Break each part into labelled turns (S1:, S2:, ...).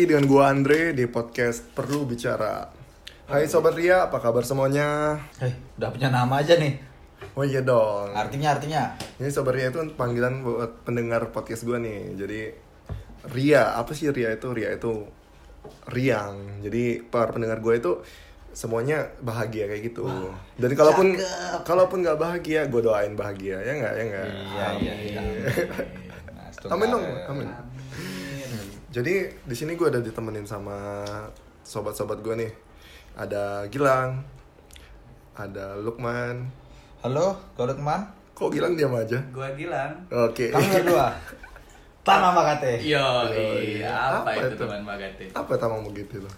S1: dengan gua Andre di podcast Perlu Bicara. Hai Sobat Ria, apa kabar semuanya?
S2: Eh, udah punya nama aja nih.
S1: Oh iya dong.
S2: Artinya artinya
S1: Ini Sobat Ria itu panggilan buat pendengar podcast gua nih. Jadi Ria, apa sih Ria itu? Ria itu riang. Jadi para pendengar gua itu semuanya bahagia kayak gitu. Dan kalaupun kalaupun nggak bahagia, gua doain bahagia. Ya nggak, ya nggak.
S2: iya iya. Nah,
S1: Amin dong, amin. Jadi di sini gue ada ditemenin sama sobat-sobat gue nih. Ada Gilang, ada Lukman.
S2: Halo, kau teman?
S1: Kok Gilang diam aja?
S3: Gua Gilang.
S1: Oke.
S2: Kamu berdua. Tang sama kate.
S3: Yo, iya,
S1: Yoi.
S3: apa,
S1: Apa
S3: itu
S1: itu?
S3: teman Magate?
S1: Apa tamang begitu tuh?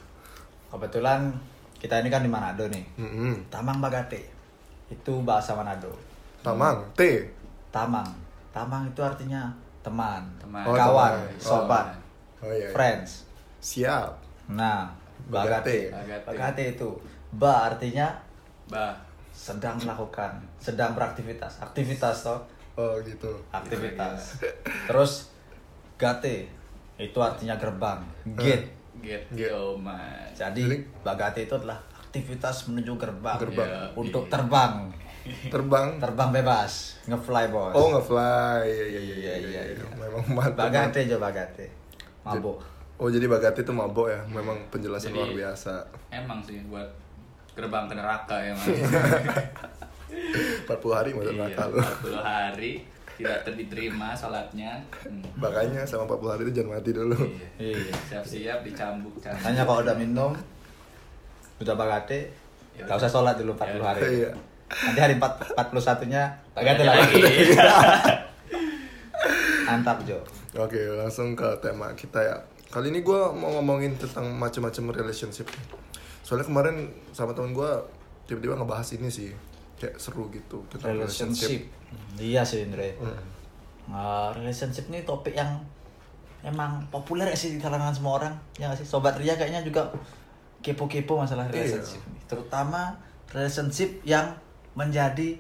S2: Kebetulan kita ini kan di Manado nih.
S1: Mm-mm.
S2: Tamang bagate. Itu bahasa Manado.
S1: Tamang, T.
S2: Tamang. Tamang itu artinya teman,
S3: Teman.
S1: Oh,
S2: kawan,
S1: teman.
S2: sobat,
S1: Oh iya. iya.
S2: friends.
S1: Siap.
S2: Nah, bagate.
S3: Bagate.
S2: Bagate itu ba artinya
S3: Bah,
S2: sedang melakukan, sedang beraktivitas. Aktivitas toh.
S1: Oh gitu.
S2: aktivitas.
S1: Iya,
S2: Terus gate itu artinya gerbang, gate.
S3: get
S1: Get.
S3: yo man.
S1: Jadi-
S2: Jadi bagate itu adalah aktivitas menuju gerbang,
S1: Gerbang.
S3: Iya.
S2: Ya, untuk terbang,
S1: Terbang.
S2: terbang bebas, ngefly bos.
S1: Oh nge-fly. Iya iya iya
S2: Iya, iya, iya.
S1: Memang mantap.
S2: bagate aja bagate, mabuk.
S1: Oh jadi Bagati itu mabok ya. Memang penjelasan
S3: Jadi-
S1: luar biasa.
S3: Emang sih buat gerbang ke neraka ya mas.
S1: Iya, 40 hari masa
S3: Iya,
S1: nakal.
S3: 40 hari tidak ter- diterima salatnya. Hmm.
S1: Makanya selama 40 hari itu jangan mati dulu.
S3: Iya.
S2: Iya.
S3: Siap-siap dicambuk cambuk.
S2: Hanya kalau udah minum, udah bagate,
S3: Ya
S2: gak
S3: udah.
S2: usah sholat dulu 40
S3: Ya
S2: hari.
S1: Iya.
S2: Nanti hari 4, 41-nya bagate lagi. Mantap Jo.
S1: Oke, langsung ke tema kita ya. Kali ini gue mau ngomongin tentang macam-macam relationship. Soalnya kemarin sama teman gue tiba-tiba ngebahas ini sih, kayak seru gitu tentang
S2: relationship. Iya sih Indre. Eh, relationship ini topik yang emang populer ya sih di kalangan semua orang. Ya nggak sih sobat Ria kayaknya juga kepo-kepo masalah relationship ini. Terutama relationship yang menjadi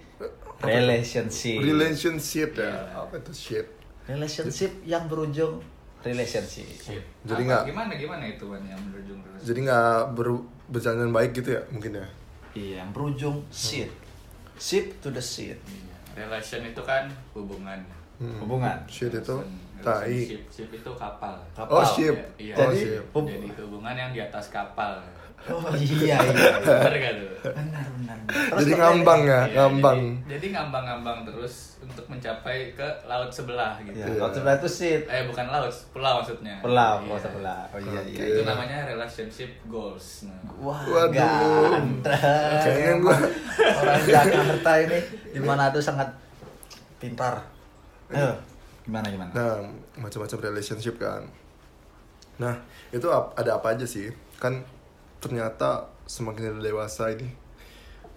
S2: relationship.
S1: Relationship ya, apa itu shit?
S2: relationship yang berujung relationship.
S1: Jadi
S3: Apa?
S1: nggak-
S3: Gimana gimana itu man yang berujung relationship?
S1: Jadi nggak ber berjalan baik gitu ya mungkin ya?
S2: Iya, yang berujung shit. Ship to the shit.
S3: Iya. Relation itu kan hubungan.
S2: Hmm.
S1: Hmm.
S2: Hubungan.
S1: Shit itu
S3: Relation-
S1: tai.
S3: Relationship ship itu kapal.
S2: Kapal.
S1: Oh ship,
S3: Iya.
S1: oh
S2: Jadi-
S1: ship.
S2: Hub-
S3: Jadi hubungan yang di atas kapal.
S2: Oh iya iya. iya.
S3: Bener gak tuh?
S2: Benar benar.
S1: Jadi ngambang ya,
S3: Iya,
S1: ngambang.
S3: Jadi, jadi ngambang-ngambang terus untuk mencapai ke laut sebelah gitu.
S1: Iya.
S2: Ya, kalau sebelah itu shit.
S3: Eh bukan laut, pulau maksudnya.
S2: Pulau,
S3: Iya.
S2: pulau sebelah. Oh iya iya.
S3: Itu namanya relationship goals. Nah.
S2: Wah,
S1: Waduh.
S2: ganteng.
S1: Kayaknya gua-
S2: orang Jakarta ini di Manado sangat pintar. Ayo, gimana gimana?
S1: Nah, macam-macam relationship kan. Nah, itu ap- ada apa aja sih? Kan ternyata semakin dewasa ini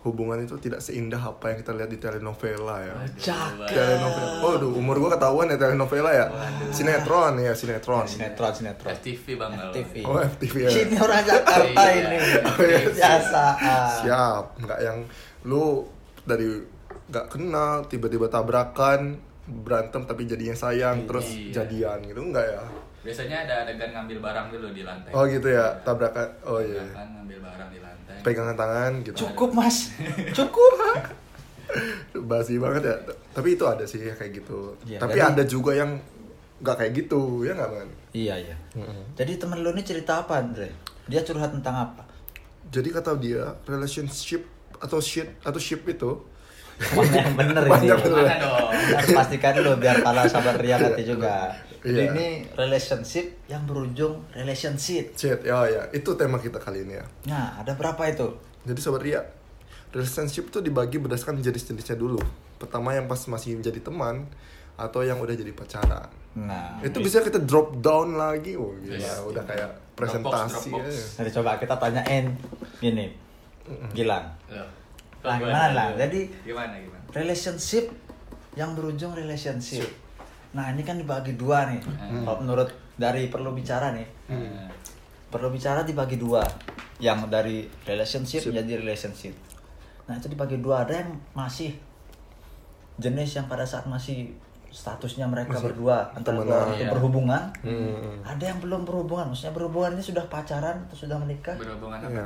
S1: hubungan itu tidak seindah apa yang kita lihat di telenovela ya.
S2: Cakep.
S1: Telenovela. Oh, aduh, umur gua ketahuan ya telenovela ya. Sinetron ya, sinetron.
S2: Sinetron,
S1: Iya.
S2: sinetron.
S3: FTV bang kalau.
S2: TV.
S1: Oh, FTV ya.
S2: Ini orang Jakarta
S3: Iya.
S2: ini.
S3: Oh, iya.
S2: Biasaan.
S1: Siap, nggak yang lu dari nggak kenal tiba-tiba tabrakan berantem tapi jadinya sayang terus
S3: Iya.
S1: jadian gitu enggak ya?
S3: Biasanya ada adegan ngambil barang dulu di lantai.
S1: Oh gitu ya, tabrakan. Oh iya.
S3: Kan ngambil barang di lantai.
S1: pegangan tangan gitu
S2: Cukup mas, cukup.
S1: basi banget ya T- tapi itu ada sih yang kayak gitu
S2: Iya,
S1: tapi
S2: jadi-
S1: ada juga yang nggak kayak gitu ya nggak man
S2: iya iya. Jadi temen lu ini cerita apa Andre? Dia curhat tentang apa?
S1: jadi kata dia relationship atau shit atau ship itu
S2: Mana yang bener ini?
S1: Banyak bener.
S3: Mana dong?
S2: Harus pastikan lo biar pala sabar Ria nanti juga. Jadi
S1: Iya.
S2: ini relationship yang berujung relationship.
S1: shit ya ya itu tema kita kali ini ya
S2: Nah, ada berapa itu?
S1: jadi sobat Ria relationship itu dibagi berdasarkan jenis-jenisnya dulu pertama yang pas masih menjadi teman atau yang udah jadi pacaran
S2: Nah,
S1: itu bisa kita drop down lagi oh gila
S3: Yes.
S1: udah kayak
S3: Dropbox,
S1: presentasi
S3: Dropbox.
S1: aja.
S2: nanti coba kita tanyain gini. Gilang,
S3: Loh.
S2: Lah, gimana lah? Jadi-
S3: gimana gimana?
S2: relationship yang berujung relationship. Nah, ini kan dibagi dua nih.
S1: Mm.
S2: Kalau menurut dari perlu bicara nih,
S1: Hmm.
S3: Nah,
S2: perlu bicara dibagi dua yang dari relationship menjadi relationship nah itu dibagi dua ada yang masih jenis yang pada saat masih statusnya mereka berdua antara
S1: temenan.
S2: dua orang itu
S3: Iya.
S2: berhubungan
S1: Hmm.
S2: ada yang belum berhubungan maksudnya berhubungan ini sudah pacaran atau sudah menikah
S3: Nah, berhubungan apa?
S1: Iya.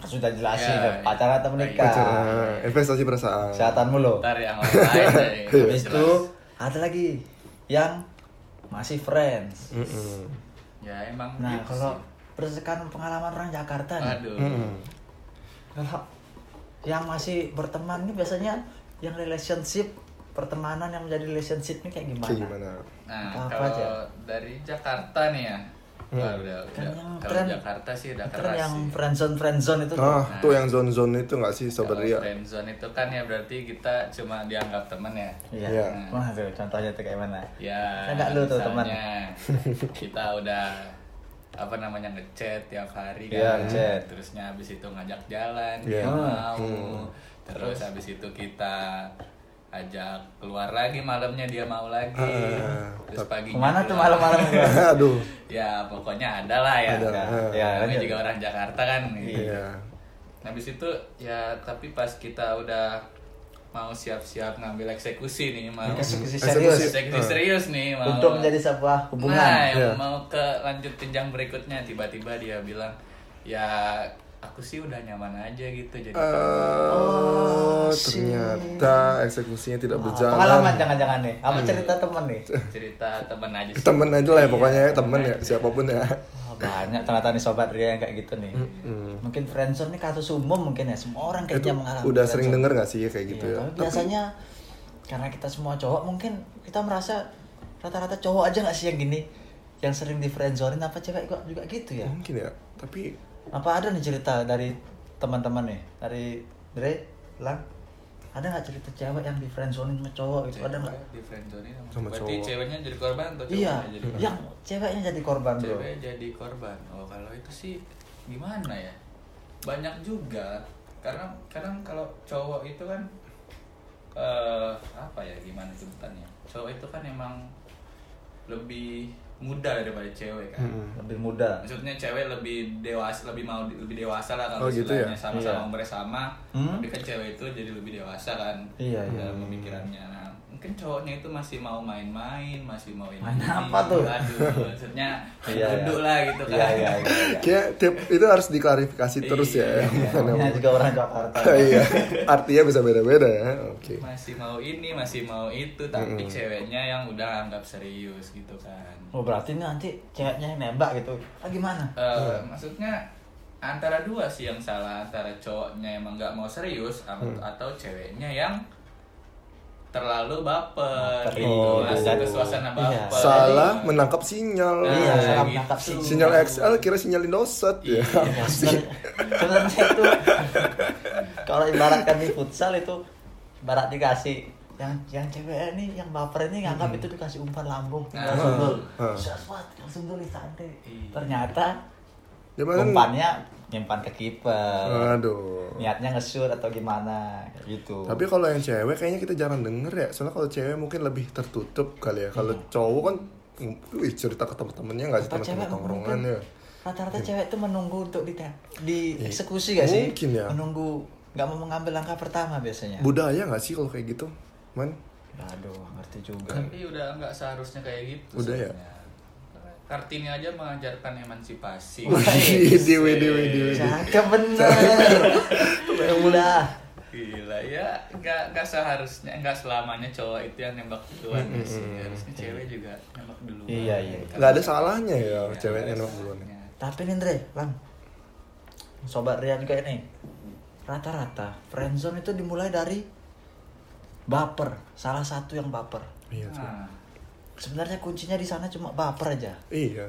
S2: Kan sudah jelasin
S3: Iya,
S2: kan,
S3: iya.
S2: pacaran atau menikah
S1: Pacaran, Iya. investasi perasaan.
S2: kesehatanmu lo
S3: Ntar ya, yang lain aja yang
S2: habis
S3: jelas.
S2: itu ada lagi yang masih friends
S1: Mm-mm.
S3: ya emang
S2: nah
S3: gitu
S2: kalau
S3: sih.
S2: berdasarkan pengalaman orang Jakarta nih,
S3: aduh
S1: Mm-mm.
S2: Kalau yang masih berteman ini biasanya yang relationship pertemanan yang menjadi relationship ini kayak gimana?
S1: Kayak gimana?
S3: nah
S2: Apa-apa
S3: kalau
S2: aja.
S3: dari Jakarta nih ya Wah, udah,
S2: Kan
S3: udah.
S2: yang
S3: kalau
S2: tren-
S3: Jakarta sih udah
S2: Kan
S3: keras
S2: yang
S3: sih
S2: friendzone friendzone itu
S1: Ah, tuh yang zone-zone itu nggak sih sobat
S3: Nah. Kalau
S1: Ria?
S3: friendzone itu kan ya berarti kita cuma dianggap teman ya
S2: Iya.
S1: Iya.
S2: Wah, tuh contohnya tuh kayak mana?
S3: Ya,
S2: Saya nggak lu tuh, teman.
S3: misalnya Kita udah apa namanya ngechat tiap hari
S2: Iya,
S3: kan.
S2: ngechat.
S3: Terusnya habis itu ngajak jalan,
S1: Iya.
S3: dia mau.
S1: Hmm.
S3: Terus habis itu kita ajak keluar lagi malamnya dia mau lagi.
S1: Ah,
S3: Terus paginya
S2: Kemana tuh
S3: keluar.
S2: malam-malam? gua?
S1: Aduh.
S3: Ya, pokoknya ada lah ya.
S1: Ada. ah,
S2: Ya,
S3: Namanya
S2: lanjut.
S3: juga orang Jakarta kan.
S1: Iya.
S3: Habis itu ya tapi pas kita udah mau siap-siap ngambil eksekusi nih mau
S2: Eksekusi
S1: Eksekusi.
S2: serius
S3: Eksekusi serius nih mau
S2: untuk menjadi sebuah
S3: Nah,
S2: hubungan.
S3: yang
S1: Iya.
S3: mau ke lanjut jenjang berikutnya tiba-tiba dia bilang, "Ya, aku sih udah nyaman aja gitu." Jadi
S2: Eh,
S1: Oh, Iya. ternyata eksekusinya tidak
S2: Pengalaman
S1: berjalan. Hmm.
S2: jangan-jangan nih, apa cerita temen nih?
S3: cerita temen aja sih.
S1: Temen aja
S3: Iya,
S1: lah ya, pokoknya ya, temen ya, siapapun ya.
S2: Wah, banyak ternyata nih sobat Ria yang kayak gitu nih. Mungkin friendzone ini kasus umum mungkin ya, semua orang
S1: Hmm. Itu
S2: kayaknya mengalami.
S1: udah
S2: friendzone.
S1: sering denger nggak sih kayak gitu
S2: Iya,
S1: ya?
S2: tapi biasanya karena kita semua cowok mungkin kita merasa rata-rata cowok aja nggak sih yang gini yang sering di friendzone apa cewek juga, juga gitu ya
S1: Mungkin ya, tapi
S2: apa ada nih cerita dari teman-teman nih dari Dre Lang ada nggak cerita cewek yang di friendzone sama cowok gitu ada nggak
S3: di friendzone sama,
S1: Sama
S3: Berarti
S1: cowok.
S3: ceweknya jadi korban atau cowoknya
S2: iya
S3: jadi korban?
S2: yang ceweknya jadi korban bro
S3: Cewek jadi korban. Oh, kalau itu sih gimana ya? Banyak juga karena kadang kalau cowok itu kan eh apa ya gimana sebutannya? Cowok itu kan emang lebih muda daripada cewek kan.
S2: lebih muda
S3: maksudnya cewek lebih dewasa lebih mau lebih dewasa lah
S1: Oh,
S3: kalau
S1: gitu
S3: istilahnya
S1: ya?
S3: sama-sama
S2: Iya.
S3: umurnya sama
S2: Hmm?
S3: tapi kan cewek itu jadi lebih dewasa kan
S2: Iya, iya.
S3: dalam pemikirannya nah mungkin cowoknya itu masih mau main-main masih mau ini
S2: Main apa tuh?
S3: aduh maksudnya
S2: Iya, iya.
S3: duduk lah gitu kan
S2: iya iya iya, iya.
S1: kayak tiap itu harus diklarifikasi terus ya.
S3: Iya, iya.
S1: Karena-
S2: Namanya juga orang Jakarta
S1: Iya, artinya bisa beda-beda ya. Oke.
S3: masih mau ini masih mau itu tapi ceweknya yang udah anggap serius gitu kan
S2: oh berarti ini nanti ceweknya yang nembak gitu ah gimana
S3: Eh, maksudnya antara dua sih yang salah antara cowoknya emang nggak mau serius am-
S2: Hmm.
S3: atau ceweknya yang terlalu baper
S2: Baper.
S3: gitu
S1: Oh,
S3: masuk ke
S1: aduh.
S2: Iya.
S3: suasana baper
S1: Salah menangkap sinyal.
S3: Nah,
S2: Iya, salah
S3: gitu.
S2: menangkap sinyal.
S1: Sinyal XL kira sinyal Indosat ya.
S3: Iya,
S2: Ya, sebenarnya sebenarnya itu kalau ibaratkan di futsal itu ibarat dikasih yang yang cewek ini yang baper ini nganggap itu dikasih umpan lambung tinggal
S3: Ah.
S2: sundul
S1: Ah.
S2: Syafat, tinggal sundul di sande
S3: Iya.
S2: ternyata
S1: Cuman
S2: umpannya nyimpan ke kiper
S1: aduh.
S2: niatnya ngesur atau gimana kayak gitu
S1: Tapi kalau yang cewek kayaknya kita jarang denger ya. Soalnya kalau cewek mungkin lebih tertutup kali ya.
S2: Iya.
S1: Kalau cowok kan wih cerita ke temen-temennya nggak sih
S2: Rata-rata
S1: temen-temen
S2: cewek
S1: tongkrongan
S2: mungkin-
S1: ya. Iya.
S2: rata-rata cewek itu menunggu untuk di di eksekusi gak sih
S1: Mungkin ya.
S2: menunggu nggak mau mengambil langkah pertama biasanya
S1: Budaya nggak sih kalau kayak gitu? Man,
S2: aduh nggak ngerti juga
S3: tapi udah nggak seharusnya kayak gitu
S1: Udah ya?
S3: sebenarnya. kartini aja mengajarkan emansipasi
S2: Iya,
S1: Widih, widih, widih, widih.
S2: Cakep bener. Udah.
S3: gila ya nggak nggak seharusnya nggak selamanya cowok itu yang nembak duluan sih harusnya cewek juga nembak duluan
S2: Iya, iya.
S1: nggak ada salahnya ya
S3: Iya,
S1: cewek
S3: nggak ada
S1: enak duluan.
S3: salahnya.
S2: Tapi nih Dre, Bang. Sobat Ria juga ini. Rata-rata friendzone itu dimulai dari baper, salah satu yang baper.
S1: Iya. tuh.
S3: Nah,
S2: Sebenarnya kuncinya di sana cuma baper aja.
S1: Iya.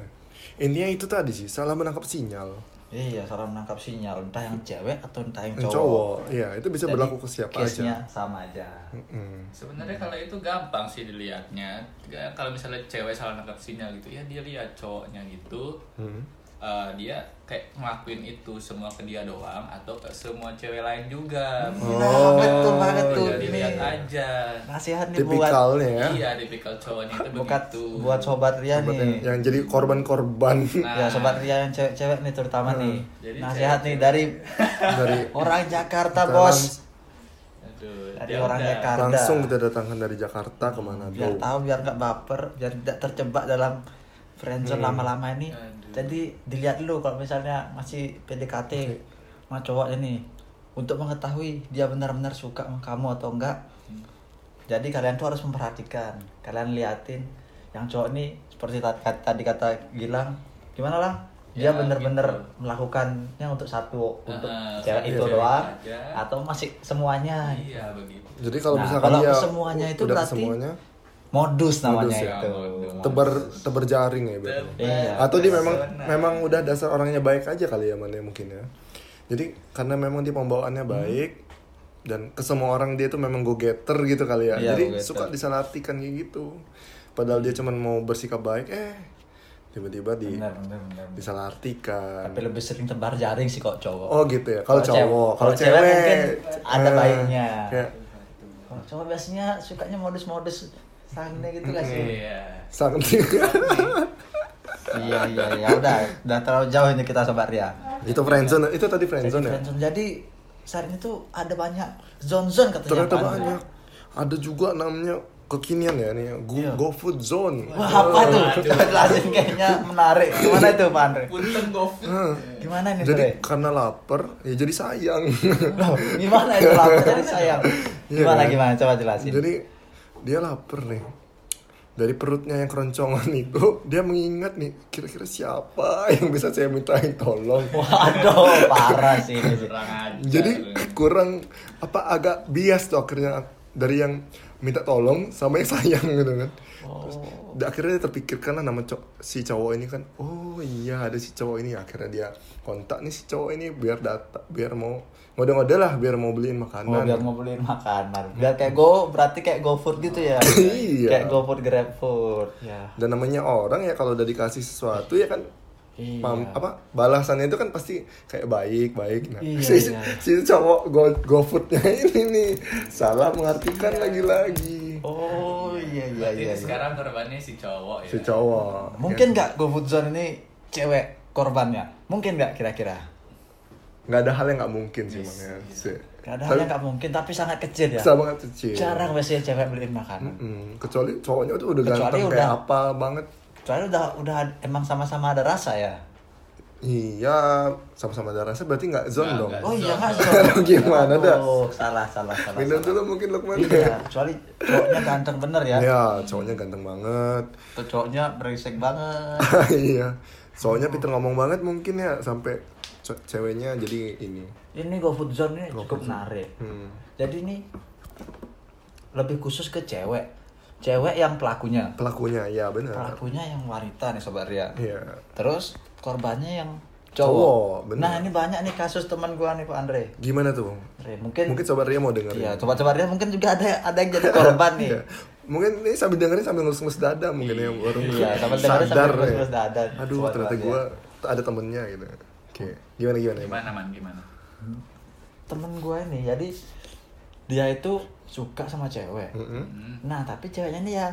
S1: Intinya itu tadi sih salah menangkap sinyal.
S2: Iya, salah menangkap sinyal entah yang cewek atau entah yang
S1: Yang
S2: cowok.
S1: cowok, iya itu bisa
S2: Jadi,
S1: berlaku ke siapa
S2: case-nya
S1: aja.
S2: sama aja.
S1: Mm.
S3: Sebenarnya kalau itu gampang sih dilihatnya. Ya, Kalau misalnya cewek salah nangkap sinyal gitu, ya dia lihat cowoknya gitu.
S1: Hmm.
S3: eh, dia kayak ngelakuin itu semua ke dia doang atau ke semua cewek lain juga.
S1: Oh.
S2: Nah, betul banget
S1: iya,
S2: tuh.
S3: Udah
S2: ini.
S3: dilihat aja.
S2: Nasihat nih buat
S1: Tipikalnya ya.
S3: Iya, tipikal cowoknya itu
S2: buat
S3: begitu.
S2: buat sobat Ria
S1: Buat
S2: nih.
S1: yang, yang jadi korban-korban
S3: Nah.
S2: Ya sobat Ria yang cewek-cewek nih terutama nih.
S3: Jadi
S2: Nasihat nih
S3: cewek-cewek.
S2: dari
S1: dari
S2: orang Jakarta,
S1: Jakarta,
S2: Bos.
S3: Jakarta. Betul.
S2: Dari kan.
S3: Ya
S2: orang
S3: udah.
S2: Jakarta.
S1: Langsung kita datangkan dari Jakarta ke Manado.
S2: biar tahu biar nggak baper biar tidak terjebak dalam friendzone lama-lama ini
S3: Aduh.
S2: jadi dilihat dulu kalau misalnya masih PDKT sama cowoknya nih untuk mengetahui dia benar-benar suka sama kamu atau enggak
S3: Hmm.
S2: jadi kalian tuh harus memperhatikan kalian liatin yang cowok ini seperti ta- ka- tadi kata Gilang gimana lah dia
S3: Ya,
S2: benar-benar
S3: gitu.
S2: melakukannya untuk satu untuk
S3: Ah,
S2: cewek
S3: satu
S2: itu
S3: cewek
S2: doang
S3: aja.
S2: atau masih semuanya
S3: Iya begitu.
S1: Jadi kalau
S2: Nah,
S1: misalkan
S2: kalau
S1: dia
S2: kesemuanya itu
S1: udah
S2: berarti-
S1: kesemuanya,
S2: modus namanya
S1: Modus ya,
S2: itu
S3: modus.
S1: tebar tebar jaring ya berarti.
S2: Iya.
S1: Atau dia memang memang udah dasar orangnya baik aja kali ya mana mungkin ya. Jadi karena memang dia pembawaannya
S2: Hmm.
S1: baik dan ke semua orang dia tuh memang go getter gitu kali ya.
S2: Iya,
S1: Jadi
S2: go-getter.
S1: suka disalahartikan kayak gitu. Padahal dia cuman mau bersikap baik eh tiba-tiba di
S2: benar benar benar
S1: disalahartikan.
S2: tapi lebih sering tebar jaring sih kok cowok
S1: Oh gitu ya. Kalau
S2: Kalau cewek-
S1: cowok, kalau
S2: kalau cewek
S1: cewek
S2: mungkin ada
S1: eh,
S2: baiknya.
S1: kayak
S2: kalau cowok biasanya sukanya modus-modus sana gitu kan sih
S3: Iya.
S1: sangat
S2: iya iya iya udah udah terlalu jauh ini kita sobat Ria
S1: itu friendzone itu tadi
S2: jadi
S1: friendzone ya
S2: friendzone. jadi saat ini tuh ada banyak zone-zone katanya
S1: ternyata
S2: Pak.
S1: banyak ada juga namanya kekinian ya nih go,
S2: Iya.
S1: food zone
S2: wah apa tuh coba jelasin kayaknya menarik gimana itu Pak Andre
S3: Punten gofood.
S2: gimana ini
S1: jadi
S2: Dre?
S1: karena lapar ya jadi sayang
S2: Loh, gimana itu Pak Jadi sayang
S1: Iya,
S2: gimana
S1: kan?
S2: gimana coba jelasin
S1: jadi dia lapar nih dari perutnya yang keroncongan itu dia mengingat nih kira-kira siapa yang bisa saya mintain tolong
S2: waduh parah sih ini sih
S3: Kurang ajar.
S2: Iya,
S1: jadi kurang apa agak bias tuh akhirnya dari yang minta tolong sama yang sayang gitu kan terus
S2: Oh.
S1: da- akhirnya dia terpikirkan lah nama cow- si cowok ini kan oh iya ada si cowok ini akhirnya dia kontak nih si cowok ini biar data biar mau ngode-ngode lah biar mau beliin makanan
S2: Oh, biar mau beliin makanan. Biar kayak go, berarti kayak GoFood gitu ya.
S1: Hmm. Iya.
S2: Kayak GoFood, GrabFood.
S3: Iya.
S2: Ya.
S1: dan namanya orang ya kalau udah dikasih sesuatu ya kan
S2: Iya.
S1: pam- apa balasannya itu kan pasti kayak baik baik nah
S2: Iya,
S1: si,
S2: iya.
S1: si cowok go gofoodnya ini nih salah mengartikan
S2: Iya.
S1: lagi lagi
S2: Oh, iya iya
S3: Berarti
S2: iya. iya.
S3: sekarang korbannya si cowok ya.
S1: si cowok Iya.
S2: Mungkin nggak GoFood Zone ini cewek korbannya? Mungkin nggak kira-kira?
S1: nggak ada hal yang nggak mungkin sih ya. makanya sih
S2: iya. Nggak ada halnya nggak mungkin, tapi sangat kecil ya.
S1: sama kecil
S2: Jarang biasanya cewek beliin makanan.
S1: Mm, kecuali cowoknya tuh udah
S2: Kecuali
S1: ganteng
S2: udah-
S1: kayak apa banget
S2: Soalnya udah udah emang sama-sama ada rasa ya.
S1: iya sama-sama ada rasa berarti nggak zone
S3: Nggak,
S1: dong
S3: nggak.
S2: Oh iya nggak
S1: Aduh, gimana dah?
S2: Oh, salah salah salah.
S1: minum
S2: salah.
S1: dulu mungkin Lukman
S2: Iya, kecuali cowoknya ganteng bener ya.
S1: ya cowoknya ganteng banget
S2: Tuh cowoknya berisik banget.
S1: iya soalnya Peter ngomong banget mungkin ya sampai ce- ceweknya jadi ini
S2: ini GoFood Zone ini cukup menarik.
S1: Hmm.
S2: Jadi ini lebih khusus ke cewek. Cewek yang pelakunya.
S1: pelakunya ya benar
S2: Pelakunya yang wanita nih Sobat Ria.
S1: iya
S2: Terus korbannya yang
S1: Cowok,
S2: cowok.
S1: bener.
S2: nah, ini banyak nih kasus teman gua nih Pak Andre.
S1: gimana tuh
S2: Andre, mungkin
S1: mungkin sobat Ria mau ya. dengerin
S2: Iya, coba-coba Ria mungkin juga ada ada yang jadi korban nih.
S1: Iya. Mungkin ini sambil dengerin sambil ngelus-ngelus dada mungkin ya baru
S2: Iya, sambil dengerin sambil
S1: sadar ya.
S2: ngelus-ngelus dada.
S1: Aduh,
S2: Sobat
S1: ternyata
S2: Radia.
S1: gue ada temennya gitu. Oke, gimana gimana ya?
S3: Gimana man gimana?
S2: Temen gua ini jadi dia itu suka sama cewek.
S3: Hmm.
S2: Nah, tapi ceweknya nih ya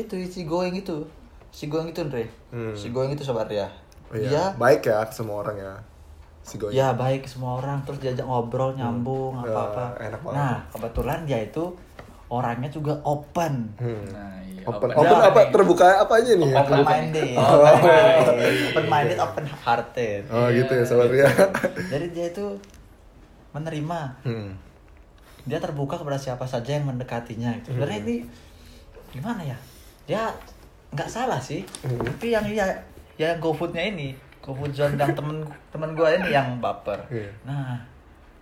S2: itu si going itu. Si going itu, Andre.
S1: Hmm.
S2: Si going itu sobat Ria.
S1: Oh, iya.
S2: Dia
S1: Baik ya ke semua orang ya. Si Goy.
S2: ya baik semua orang terus diajak ngobrol nyambung
S1: Ya,
S2: apa-apa.
S1: enak banget.
S2: nah, kebetulan dia itu orangnya juga open.
S1: Hmm.
S3: Nah, iya.
S1: Open,
S2: open
S1: open apa?
S3: nih.
S1: Terbuka apa aja nih? ya?
S2: Open minded.
S3: Oh,
S2: open
S3: open
S2: minded,
S1: Iya,
S2: open minded, open hearted.
S1: Oh gitu ya, sobat Ria.
S2: Jadi dia itu menerima.
S1: Hmm.
S2: Dia terbuka kepada siapa saja yang mendekatinya. Gitu.
S1: Hmm.
S2: Sebenarnya ini gimana ya? Dia nggak salah sih.
S1: Hmm.
S2: Tapi yang ya yang GoFood-nya ini, GoFood John dan temen temen gua ini yang baper.
S1: Iya.
S2: Nah,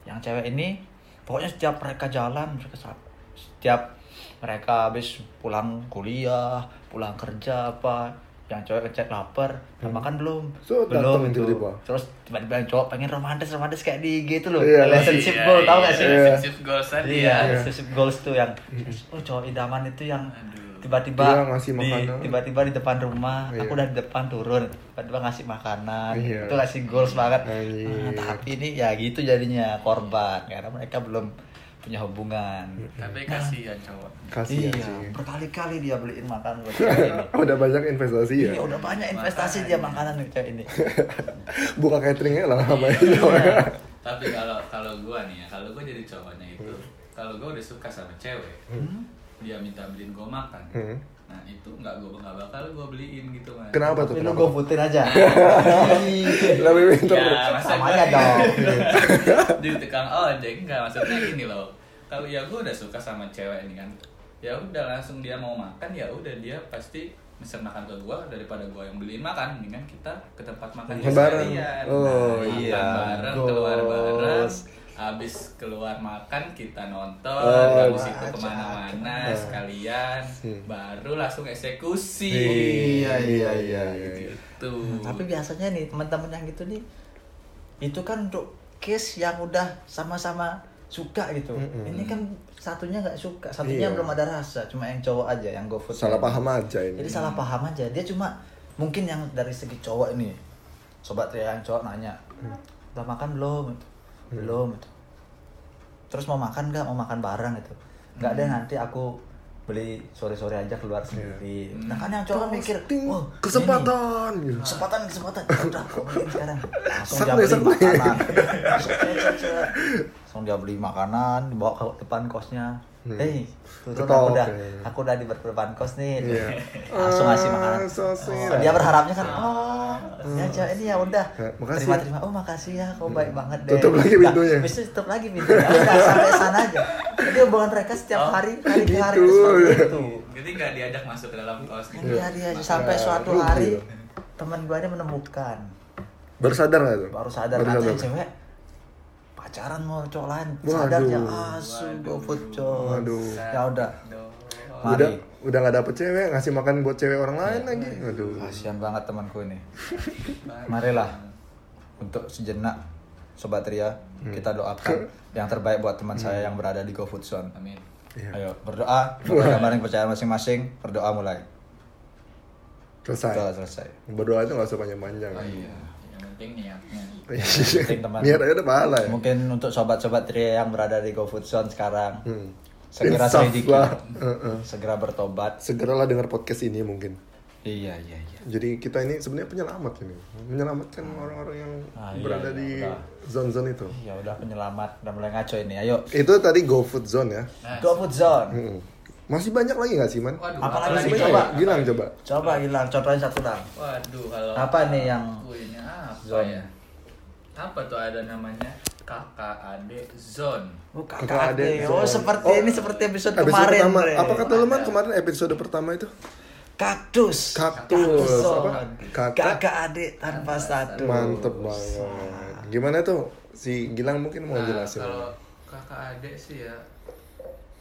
S2: yang cewek ini pokoknya setiap mereka jalan, mereka sa- setiap mereka habis pulang kuliah, pulang kerja apa, yang cewek ngecek lapar, "Udah makan belum?
S1: Hmm. So, datang
S2: belum itu.
S1: tiba-tiba.
S2: Terus tiba-tiba yang cowok pengen romantis, romantis kayak di IG itu loh.
S1: Iya,
S2: relationship
S3: Iya,
S2: goal, tau
S3: iya,
S2: gak sih?
S3: Relationship goals tadi
S2: Iya,
S3: ya.
S2: relationship goals tuh yang oh cowok idaman itu yang
S3: Aduh.
S2: tiba-tiba
S1: Iya, ngasih
S2: di
S1: makanan.
S2: tiba-tiba di depan rumah,
S1: Iya.
S2: aku udah di depan turun, tiba-tiba ngasih makanan.
S1: Iya.
S2: Itu ngasih goals banget.
S1: Anjir.
S2: Ah, tapi ini ya gitu jadinya korban karena mereka belum punya hubungan.
S3: Tapi kasihan cowok.
S1: Iya, Kasihan
S2: iya,
S1: sih. Iya.
S2: berkali-kali dia beliin makan buat cewek ini.
S1: Udah banyak investasi ya.
S2: Iya, udah banyak investasi dia makanan nih cewek ini.
S1: Buka
S2: Iya.
S3: Iya.
S1: cateringnya lah sama
S3: ya,
S1: Hmm.
S3: Tapi kalau kalau gua nih ya, kalau gua jadi cowoknya itu, kalau gue udah suka sama cewek
S2: Hmm?
S3: dia minta beliin gue makan
S1: Hmm.
S3: nah itu nggak gue nggak bakal gue beliin gitu kan
S1: Kenapa tuh?
S2: Tapi lu
S1: Kenapa?
S2: gofutin aja.
S1: Lebih pinter.
S3: ya masa
S2: Samanya dong.
S1: gitu.
S3: di tukang ojek enggak maksudnya gini loh kalau ya gue udah suka sama cewek ini kan ya udah langsung dia mau makan ya udah dia pasti mesen makan ke gue daripada gue yang beliin makan mendingan kita ke tempat makan
S1: Makan bareng.
S3: sekalian.
S1: Oh,
S3: makan
S2: iya.
S3: bareng keluar bareng
S2: Bagus.
S3: abis keluar makan kita nonton
S1: Oh,
S3: habis itu
S2: ajak.
S1: Eh.
S3: kemana-mana sekalian
S1: Hmm.
S3: baru langsung eksekusi
S2: Iya, iya, iya,
S1: iya.
S3: gitu
S2: Tapi biasanya nih teman-teman yang gitu nih itu kan untuk case yang udah sama-sama suka gitu.
S1: Mm-mm.
S2: Ini kan satunya nggak suka, satunya
S1: Hmm, Iya.
S2: belum ada rasa, cuma yang cowok aja yang gofood.
S1: Salah paham aja ini.
S2: Jadi salah paham aja. Dia cuma mungkin yang dari segi cowok ini. Sobat Ria yang cowok nanya,
S1: Hmm.
S2: "Udah makan belum?" Gitu. Belum gitu. Terus mau makan nggak? Mau makan bareng gitu. Nggak
S1: Hmm.
S2: deh nanti aku beli sore-sore aja keluar sendiri. Nah kan yang cowok mikir,
S1: Iya. Ting,
S2: "Wah, ini
S1: kesempatan. gitu.
S2: nih, kesempatan kesempatan Ya udah aku beliin sekarang langsung dia
S1: Sakle,
S2: beli
S1: sakle.
S2: makanan Cet, cet, cet. langsung dia beli makanan dibawa ke depan kosnya
S1: Hmm.
S2: hei turun
S1: Ketok,
S2: aku udah
S1: ya.
S2: aku udah di depan kos nih
S1: Iya.
S2: langsung ngasih makanan
S1: Ah, sosis.
S2: Oh, dia berharapnya kan oh ya cak ini ya udah
S1: Eh, Ah. makasih. Hmm.
S2: terima terima oh makasih ya kau baik banget deh
S1: Tutup lagi
S2: Nah,
S1: pintunya.
S2: habis itu tutup lagi pintunya udah sampai sana aja jadi hubungan mereka setiap hari hari ke hari itu
S1: Gitu.
S2: seperti itu
S3: jadi nggak diajak masuk ke dalam kos gitu
S2: Iya, dia aja.
S1: Nah,
S2: sampai suatu
S1: rugi
S2: hari
S1: loh.
S2: teman gue ini menemukan
S1: Baru sadar gak tuh?
S2: baru sadar katanya cewek pacaran mau cowok lain sadarnya
S1: Waduh.
S2: asu gofood cowok
S1: Waduh.
S2: ya udah
S3: Aduh.
S2: Mari.
S1: Udah, udah gak dapet cewek, ngasih makan buat cewek orang
S2: Iya,
S1: lain lagi. Aduh.
S2: kasihan banget temanku ini marilah untuk sejenak sobat Ria
S1: Hmm.
S2: kita doakan yang terbaik buat teman saya yang berada di GoFood Zone
S3: Amin.
S1: Iya.
S2: ayo berdoa berdoa gambaran kepercayaan masing-masing berdoa mulai berdoa
S1: Selesai.
S2: selesai
S1: Berdoa itu gak usah panjang-panjang.
S2: Oh,
S1: Iya.
S3: Iya. Yang penting niatnya.
S2: Ah, penting, teman.
S1: Niat aja udah pahala ya.
S2: mungkin untuk sobat-sobat Ria yang berada di GoFood Zone sekarang
S1: Hmm.
S2: segera
S1: Insaf
S2: selidiki
S1: lah. Heeh.
S2: segera bertobat
S1: Segeralah dengar podcast ini mungkin.
S2: iya iya iya
S1: Jadi kita ini sebenarnya penyelamat ini, menyelamatkan orang-orang yang
S2: Ah, iya,
S1: berada
S2: iya,
S1: di
S2: udah.
S1: zone-zone itu.
S2: ya udah penyelamat udah mulai ngaco ini ayo
S1: Itu tadi GoFood Zone ya.
S2: GoFood Zone
S1: Mm-mm. Masih banyak lagi nggak sih man?
S3: Nah, Waduh,
S2: Apalagi
S1: Masih
S2: sih,
S1: banyak.
S2: coba.
S1: Gilang coba.
S2: coba hilang contohnya satu lang
S3: Waduh, kalau
S2: Apa nih yang
S3: aku ini apa
S2: zone?
S3: ya? Apa tuh ada namanya kakak adik zone.
S2: Oh,
S1: Kakak
S2: kakak
S1: adik
S2: adik. Oh,
S1: Zone.
S2: seperti ini seperti episode,
S1: Episode
S2: kemarin.
S1: pertama.
S2: Bre.
S1: Apa kata lu man kemarin episode pertama itu?
S2: Kaktus.
S1: Kaktus. Apa?
S2: Zone.
S1: Kakak.
S2: Kakak adik tanpa status.
S1: Mantep banget. Gimana tuh? Si Gilang mungkin mau
S3: Nah,
S1: jelasin.
S3: kalau kakak adik sih ya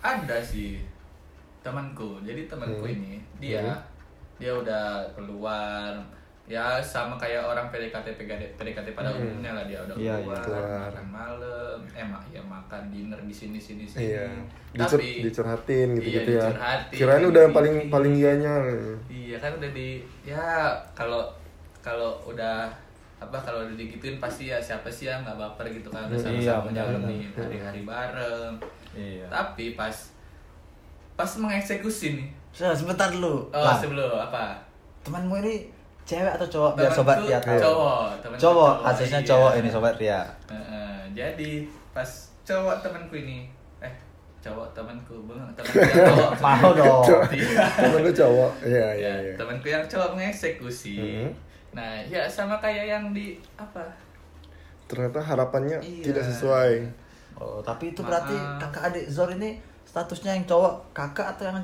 S3: ada sih temanku. Jadi temanku
S2: Hmm.
S3: ini dia dia udah keluar ya sama kayak orang PDKT PDKT, pada umumnya lah dia udah
S2: Iya, iya,
S3: keluar,
S1: keluar.
S3: makan malam emak ya makan dinner di sini sini sini
S1: Iya. Dicer-
S3: tapi
S1: dicurhatin gitu-gitu
S3: iya,
S1: ya.
S3: dicurhatin.
S1: Kirain udah yang paling paling ianya.
S3: Iya kan udah di ya kalau kalau udah apa kalau udah digituin pasti ya siapa sih yang nggak baper gitu kan udah
S2: Iya,
S3: sama-sama
S2: benar,
S3: menjalani hari-hari bareng.
S2: Iya.
S3: Tapi pas pas mengeksekusi nih.
S2: So, sebentar dulu.
S3: Oh,
S2: Lang,
S3: sebelum apa?
S2: temanmu ini cewek atau cowok? Biar sobat
S3: Temanku
S2: Ria tahu.
S3: Cowok, temanku
S2: Cowok, kasusnya
S3: iya.
S2: cowok ini sobat Ria.
S3: Heeh, jadi pas cowok temanku ini eh cowok temanku bengong temanku yang cowok
S2: Mau dong.
S3: Iya.
S1: Temen lu cowok. Iya, iya,
S3: ya,
S1: iya.
S3: temanku yang cowok mengeksekusi
S2: Mm-hmm.
S1: Mhm.
S3: nah ya sama kayak yang di apa
S1: Ternyata harapannya
S3: Iya.
S1: tidak sesuai.
S2: Oh, tapi itu berarti
S3: Maaf.
S2: kakak adik Zor ini statusnya yang cowok kakak atau yang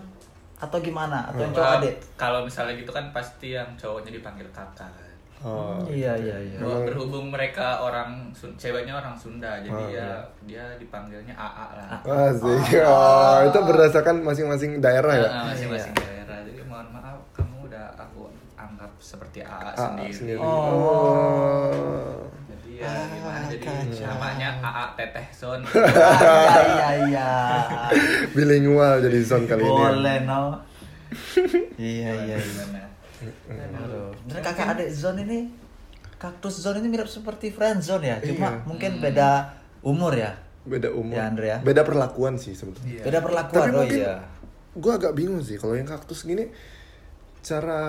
S2: atau gimana? Atau yang cowok
S3: Kalau-
S2: adik?
S3: kalau misalnya gitu kan pasti yang cowoknya dipanggil kakak kan.
S1: Oh.
S2: Iya, iya, iya.
S3: Bahwa berhubung mereka orang Sun- ceweknya orang Sunda jadi
S2: Ah,
S1: Oh,
S2: iya.
S3: ya dia dipanggilnya AA lah
S1: Asik. ah, Oh, itu berdasarkan masing-masing daerah ya.
S3: Nah, masing-masing daerah jadi mohon maaf kamu udah aku anggap seperti AA,
S1: Ah,
S3: sendiri.
S1: sendiri.
S2: Oh.
S1: Oh.
S3: jadi ya
S2: Ah,
S3: gimana jadi
S2: kacau.
S3: namanya AA Teteh Son
S2: Ah, iya, iya, iya.
S1: Bilingual jadi zone kali ini. ya.
S2: Boleh no. iya iya. iya.
S3: Gimana?
S2: Aduh. Dan kakak adik zone ini kaktus zone ini mirip seperti friend zone ya, cuma
S1: Iya.
S2: mungkin beda umur ya.
S1: Beda umur.
S2: Ya, Andre, ya.
S1: Beda perlakuan sih sebetulnya.
S3: Iya.
S2: Beda perlakuan
S1: Tapi
S2: oh
S1: mungkin-
S2: iya.
S1: Gue agak bingung sih kalau yang kaktus gini cara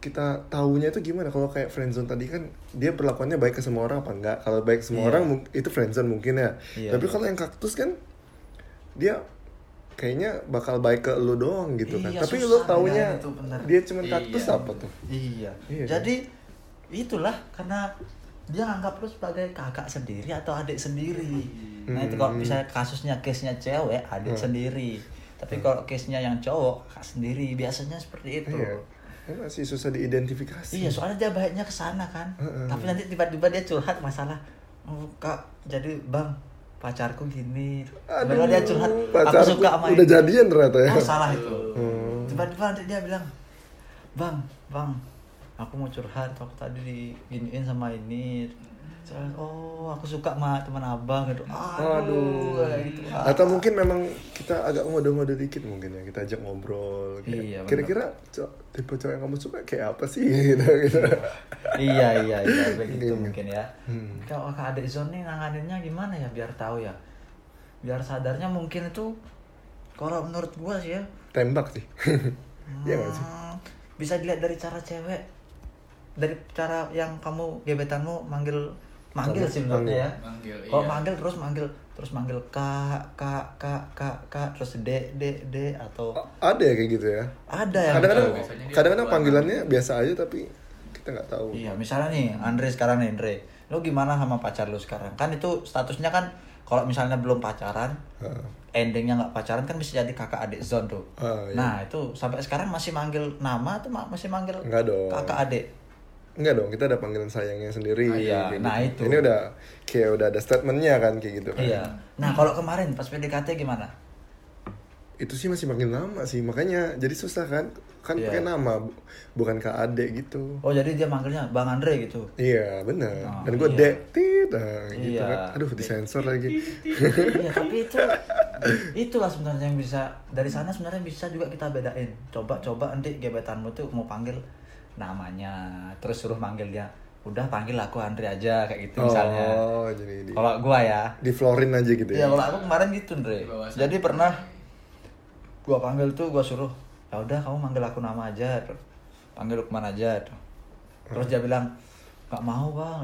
S1: kita tahunya itu gimana kalau kayak friendzone tadi kan dia perlakuannya baik ke semua orang apa enggak kalau baik ke semua
S2: Iya.
S1: orang mung- itu friendzone mungkin ya
S2: Iya,
S1: tapi
S2: iya.
S1: kalau yang kaktus kan dia kayaknya bakal baik ke lu doang gitu kan
S2: Iya,
S1: tapi
S2: susah
S1: lu taunya
S2: bedain itu, bener.
S1: dia cuma kaktus
S3: Iya.
S1: apa tuh
S2: Iya.
S1: Iya.
S2: Jadi itulah karena dia nganggap lu sebagai kakak sendiri atau adik sendiri. Nah itu
S1: Hmm.
S2: kalau misalnya kasusnya case-nya cewek adik sendiri, tapi
S1: Hmm.
S2: kalau case-nya yang cowok kakak sendiri biasanya seperti itu.
S1: iya Ini masih susah diidentifikasi
S2: Iya, soalnya dia baiknya ke sana kan.
S1: Heeh.
S2: Tapi nanti tiba-tiba dia curhat masalah, "Oh, Kak, jadi Bang, pacarku gini."
S1: Aduh,
S2: Tiba-tiba dia curhat, "Aku
S1: pacar
S2: suka sama
S1: udah
S2: ini."
S1: jadian ternyata ya
S2: Oh, salah itu.
S1: Hmm.
S2: Tiba-tiba nanti dia bilang, "Bang, Bang, aku mau curhat, aku tadi diginiin sama ini."
S1: Hmm.
S2: Soalnya, oh, aku suka sama teman abang gitu. Aduh,
S1: Aduh.
S2: kayak gitu. Ah.
S1: Atau mungkin memang kita agak ngode-ngode dikit mungkin ya kita ajak ngobrol. kayak,
S2: Iya, benar.
S1: Kira-kira co- tipe cowok yang kamu suka kayak apa sih gitu gitu.
S2: iya iya iya begitu
S1: Iya.
S2: mungkin ya
S1: Hmm.
S2: kalau ke adik zon nih nanganinnya gimana ya biar tahu ya biar sadarnya mungkin itu kalau menurut gua sih ya
S1: Tembak sih. Iya nggak sih?
S2: hmm, bisa dilihat dari cara cewek dari cara yang kamu gebetanmu manggil manggil sih menurutnya ya
S3: Manggil,
S2: kalau
S3: iya.
S2: manggil terus manggil terus manggil kak kak kak kak kak terus dek dek dek atau
S1: A- Ada ya kayak gitu ya.
S2: ada yang
S1: Kadang-kadang
S3: tahu, biasanya dia
S1: kadang-kadang
S3: keluar.
S1: panggilannya biasa aja tapi kita nggak tahu.
S2: Iya, misalnya nih Andre sekarang nih Andre, lo gimana sama pacar lo sekarang? Kan itu statusnya kan kalau misalnya belum pacaran,
S1: Heeh.
S2: endingnya nggak pacaran kan bisa jadi kakak adik zon tuh.
S1: Ah, iya.
S2: Nah itu sampai sekarang masih manggil nama atau ma- masih manggil
S1: Nggak dong.
S2: kakak adik?
S1: Enggak dong, kita ada panggilan sayangnya sendiri.
S2: Ah, iya.
S1: kayak
S2: Nah,
S1: gitu.
S2: itu.
S1: Ini udah kayak udah ada statementnya kan kayak gitu kan.
S2: Iya. Nah kalau kemarin pas PDKT gimana?
S1: Itu sih masih makin lama sih, makanya jadi susah kan. Kan
S2: Iya.
S1: pakai nama bu- bukan Kak Ade gitu.
S2: Oh jadi dia manggilnya Bang Andre gitu.
S1: Iya bener
S2: Oh,
S1: Dan gue
S2: iya.
S1: dek tit nah, gitu
S2: Iya.
S1: kan. Aduh disensor lagi.
S2: iya tapi itu itulah sebenarnya yang bisa dari sana sebenarnya bisa juga kita bedain coba coba nanti gebetanmu tuh mau panggil namanya terus suruh manggil dia udah panggil aku Andre aja kayak gitu misalnya
S1: Oh jadi di,
S2: kalau gua ya
S1: di florin aja gitu
S2: ya
S1: ya.
S2: kalau aku kemarin gitu Andre
S3: Di bawah sana.
S2: jadi pernah gua panggil tuh gua suruh ya udah kamu manggil aku nama aja panggil Lukman aja terus dia bilang nggak mau bang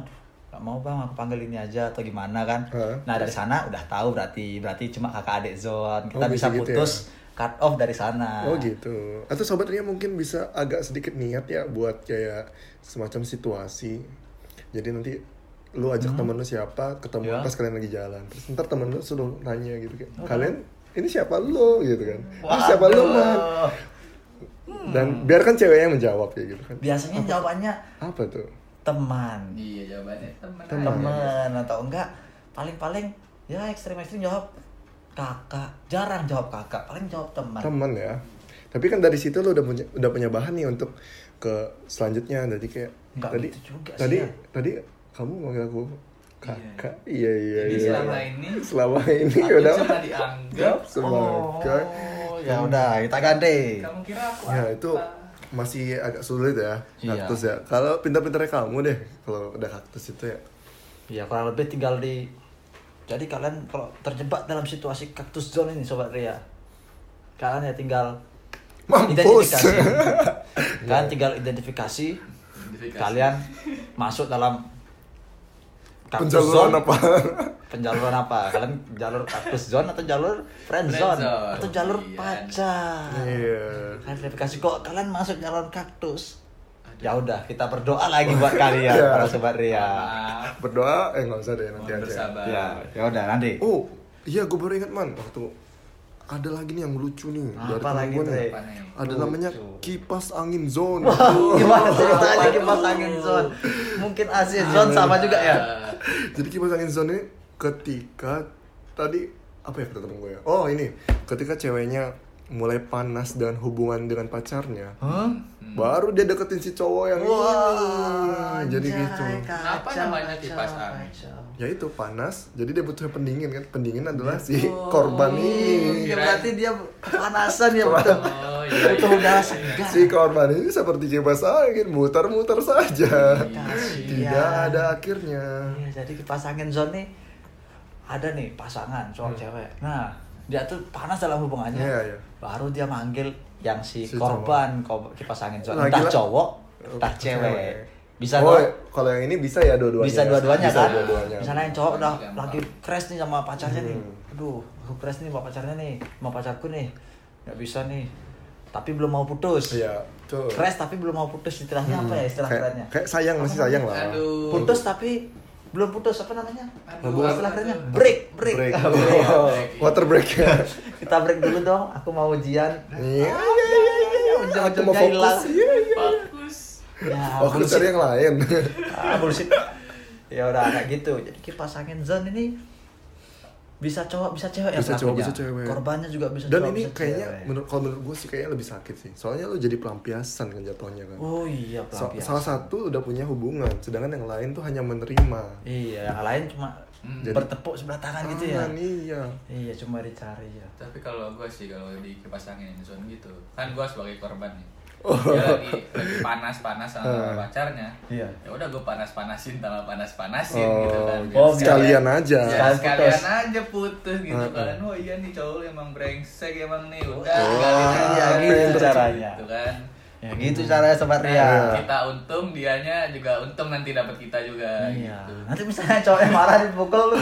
S2: nggak mau bang aku panggil ini aja atau gimana kan
S1: Heeh.
S2: nah dari sana udah tahu berarti berarti cuma kakak adik zon kita
S1: Oh,
S2: bisa
S1: bisa gitu
S2: putus cut off dari sana
S1: Oh gitu. Atau sobat Ria mungkin bisa agak sedikit niat ya buat kayak semacam situasi. Jadi nanti lu
S2: Hmm.
S1: ajak temen lu siapa, ketemu
S2: Ya.
S1: pas kalian lagi jalan. Terus ntar temen lu suruh nanya gitu kan. Kalian ini siapa lu gitu kan. Ini siapa lu man.
S2: Waduh.
S1: Dan biarkan ceweknya yang menjawab ya gitu kan.
S2: biasanya jawabannya
S1: Apa tuh?
S2: teman
S3: Iya jawabannya teman.
S1: Teman.
S2: teman atau enggak paling-paling ya ekstrim ekstrim jawab kakak jarang jawab kakak paling jawab teman
S1: teman ya tapi kan dari situ lo udah punya udah punya bahan nih untuk ke selanjutnya jadi kayak
S2: Nggak
S1: tadi
S2: gitu juga sih
S1: tadi
S2: ya.
S1: tadi kamu manggil aku kakak iya iya
S3: Jadi
S1: iya
S3: selama ini
S1: selama ini
S3: aku
S1: Iya, udah
S3: cuma dianggap.
S1: semangat
S2: Oh, ya udah kita ganti.
S3: Kamu kira aku
S1: ya
S3: apa?
S1: itu masih agak sulit ya
S2: Iya.
S1: kaktus ya kalau pintar-pintarnya kamu deh kalau udah kaktus itu ya
S2: Iya kurang lebih tinggal di. Jadi kalian kalau terjebak dalam situasi cactus zone ini sobat Ria, kalian ya tinggal
S1: Mampus.
S2: identifikasi. kalian tinggal identifikasi.
S3: Identifikasi.
S2: Kalian masuk dalam cactus
S1: penjaluan
S2: zone.
S1: apa
S2: Penjaluran apa? Kalian jalur cactus zone atau jalur friend
S3: Friend
S2: zone
S3: zone.
S2: atau jalur
S3: Iya.
S2: pacar?
S1: iya
S2: Kalian verifikasi kok kalian masuk jalan kaktus. Ya udah, kita berdoa lagi buat kalian
S1: Iya.
S2: para sobat Ria.
S3: Maaf,
S1: berdoa eh nggak usah deh nanti
S3: mohon
S1: aja
S3: bersabar.
S2: Ya, ya udah nanti.
S1: Oh, iya gue baru ingat man waktu ada lagi nih yang lucu nih
S2: Apa
S1: temen
S2: lagi,
S1: gua
S2: Dre?
S1: nih.
S3: Apa nih?
S1: Ada namanya kipas angin zone.
S2: Gimana ceritanya kipas angin zone? Mungkin AC zone
S1: Iya.
S2: sama juga ya?
S1: Jadi kipas angin zone ini ketika tadi apa ya kata temen gue ya? Oh ini ketika ceweknya mulai panas dan hubungan dengan pacarnya,
S2: Hah?
S1: baru dia deketin si cowok yang
S2: Wah,
S1: ini. Iya. Jadi gitu.
S3: Kenapa namanya kipas angin?
S1: Ya itu panas, jadi dia butuh pendingin kan? Pendingin adalah si korban ini.
S2: Iya, berarti dia kepanasan ya butuh
S3: Oh, iya,
S2: butuh
S3: iya,
S2: udara
S3: iya.
S2: segar.
S1: Si korban ini seperti kipas angin mutar-mutar saja.
S2: Kasihan.
S1: Tidak ada akhirnya.
S2: Iya, jadi kipas angin zone nih ada nih pasangan cowok cewek. Nah, dia tuh panas dalam hubungannya.
S1: Hmm. Iya, iya.
S2: Baru dia manggil yang si,
S1: Si
S2: korban ko- kipas angin zone.
S1: Lagi
S2: Entah
S1: lah.
S2: cowok, entah cewek. Bisa
S1: oh,
S2: dong.
S1: kalau yang ini bisa ya dua-duanya.
S2: bisa dua-duanya
S1: Bisa
S2: kan
S1: dua-duanya. Hmm.
S2: misalnya yang cowok udah
S3: Gampang.
S2: lagi crash nih sama pacarnya nih aduh aku crash nih sama pacarnya nih sama pacarku nih nggak bisa nih tapi belum mau putus
S1: Iya, tuh.
S2: crash tapi belum mau putus istilahnya apa ya istilah
S1: Hmm, kayak,
S2: kerennya
S1: kayak sayang masih sayang lah.
S3: Aduh.
S2: putus tapi belum putus apa namanya
S3: Aduh,
S2: Apa istilah
S3: apa
S2: kerennya
S3: tuh?
S2: break break,
S1: Break.
S2: Oh.
S1: Water break ya.
S2: kita break dulu dong aku mau ujian ya,
S1: Iya, iya, iya, iya. Aku mau
S2: Ujung-ujungnya
S1: fokus.
S2: hilang.
S1: Iya, iya.
S3: Fokus.
S2: ya
S1: Oh, aku
S2: bullshit.
S1: cari yang lain.
S2: ah bullshit ya udah kayak gitu jadi kipas angin zone ini bisa cowok bisa cewek ya
S1: bisa cowok
S2: pelakunya.
S1: bisa cewek.
S2: korbannya juga bisa
S1: Dan
S2: cowok
S1: ini
S2: bisa
S1: kayaknya
S2: cewek.
S1: menurut kalau menurut gue sih kayaknya lebih sakit sih. Soalnya lu jadi pelampiasan kan jatuhnya kan.
S2: oh iya
S1: So-
S2: pelampiasan
S1: salah satu udah punya hubungan, sedangkan yang lain tuh hanya menerima.
S2: iya yang lain cuma
S3: Hmm.
S1: Jadi-
S2: bertepuk sebelah tangan gitu ya
S1: Tangan, iya.
S2: iya cuma dicari ya
S3: Tapi kalau gue sih kalau di kipas angin Amazon gitu, kan gue sebagai korban nih.
S1: Oh.
S3: Dia lagi, lagi panas-panas sama
S1: Eh.
S3: pacarnya.
S2: Ah. Iya.
S3: Ya udah gue panas-panasin sama panas-panasin
S1: Oh,
S3: gitu kan.
S2: oh,
S3: Biar
S1: sekalian aja.
S3: Ya,
S2: Sekalian
S3: sekalian
S2: putus. Ah,
S3: aja putus gitu
S1: Eh,
S3: kan.
S1: eh.
S3: Wah iya nih cowok lu emang brengsek emang nih.
S2: Oh,
S3: Udah, sekalian aja
S2: iya, gitu
S3: gitu
S2: caranya.
S3: kan.
S2: ya gitu caranya sobat
S1: Hmm.
S2: Ria
S1: Iya.
S3: Kita untung, dianya juga untung nanti dapat kita juga
S2: iya
S3: gitu.
S2: nanti misalnya cowoknya marah dipukul lu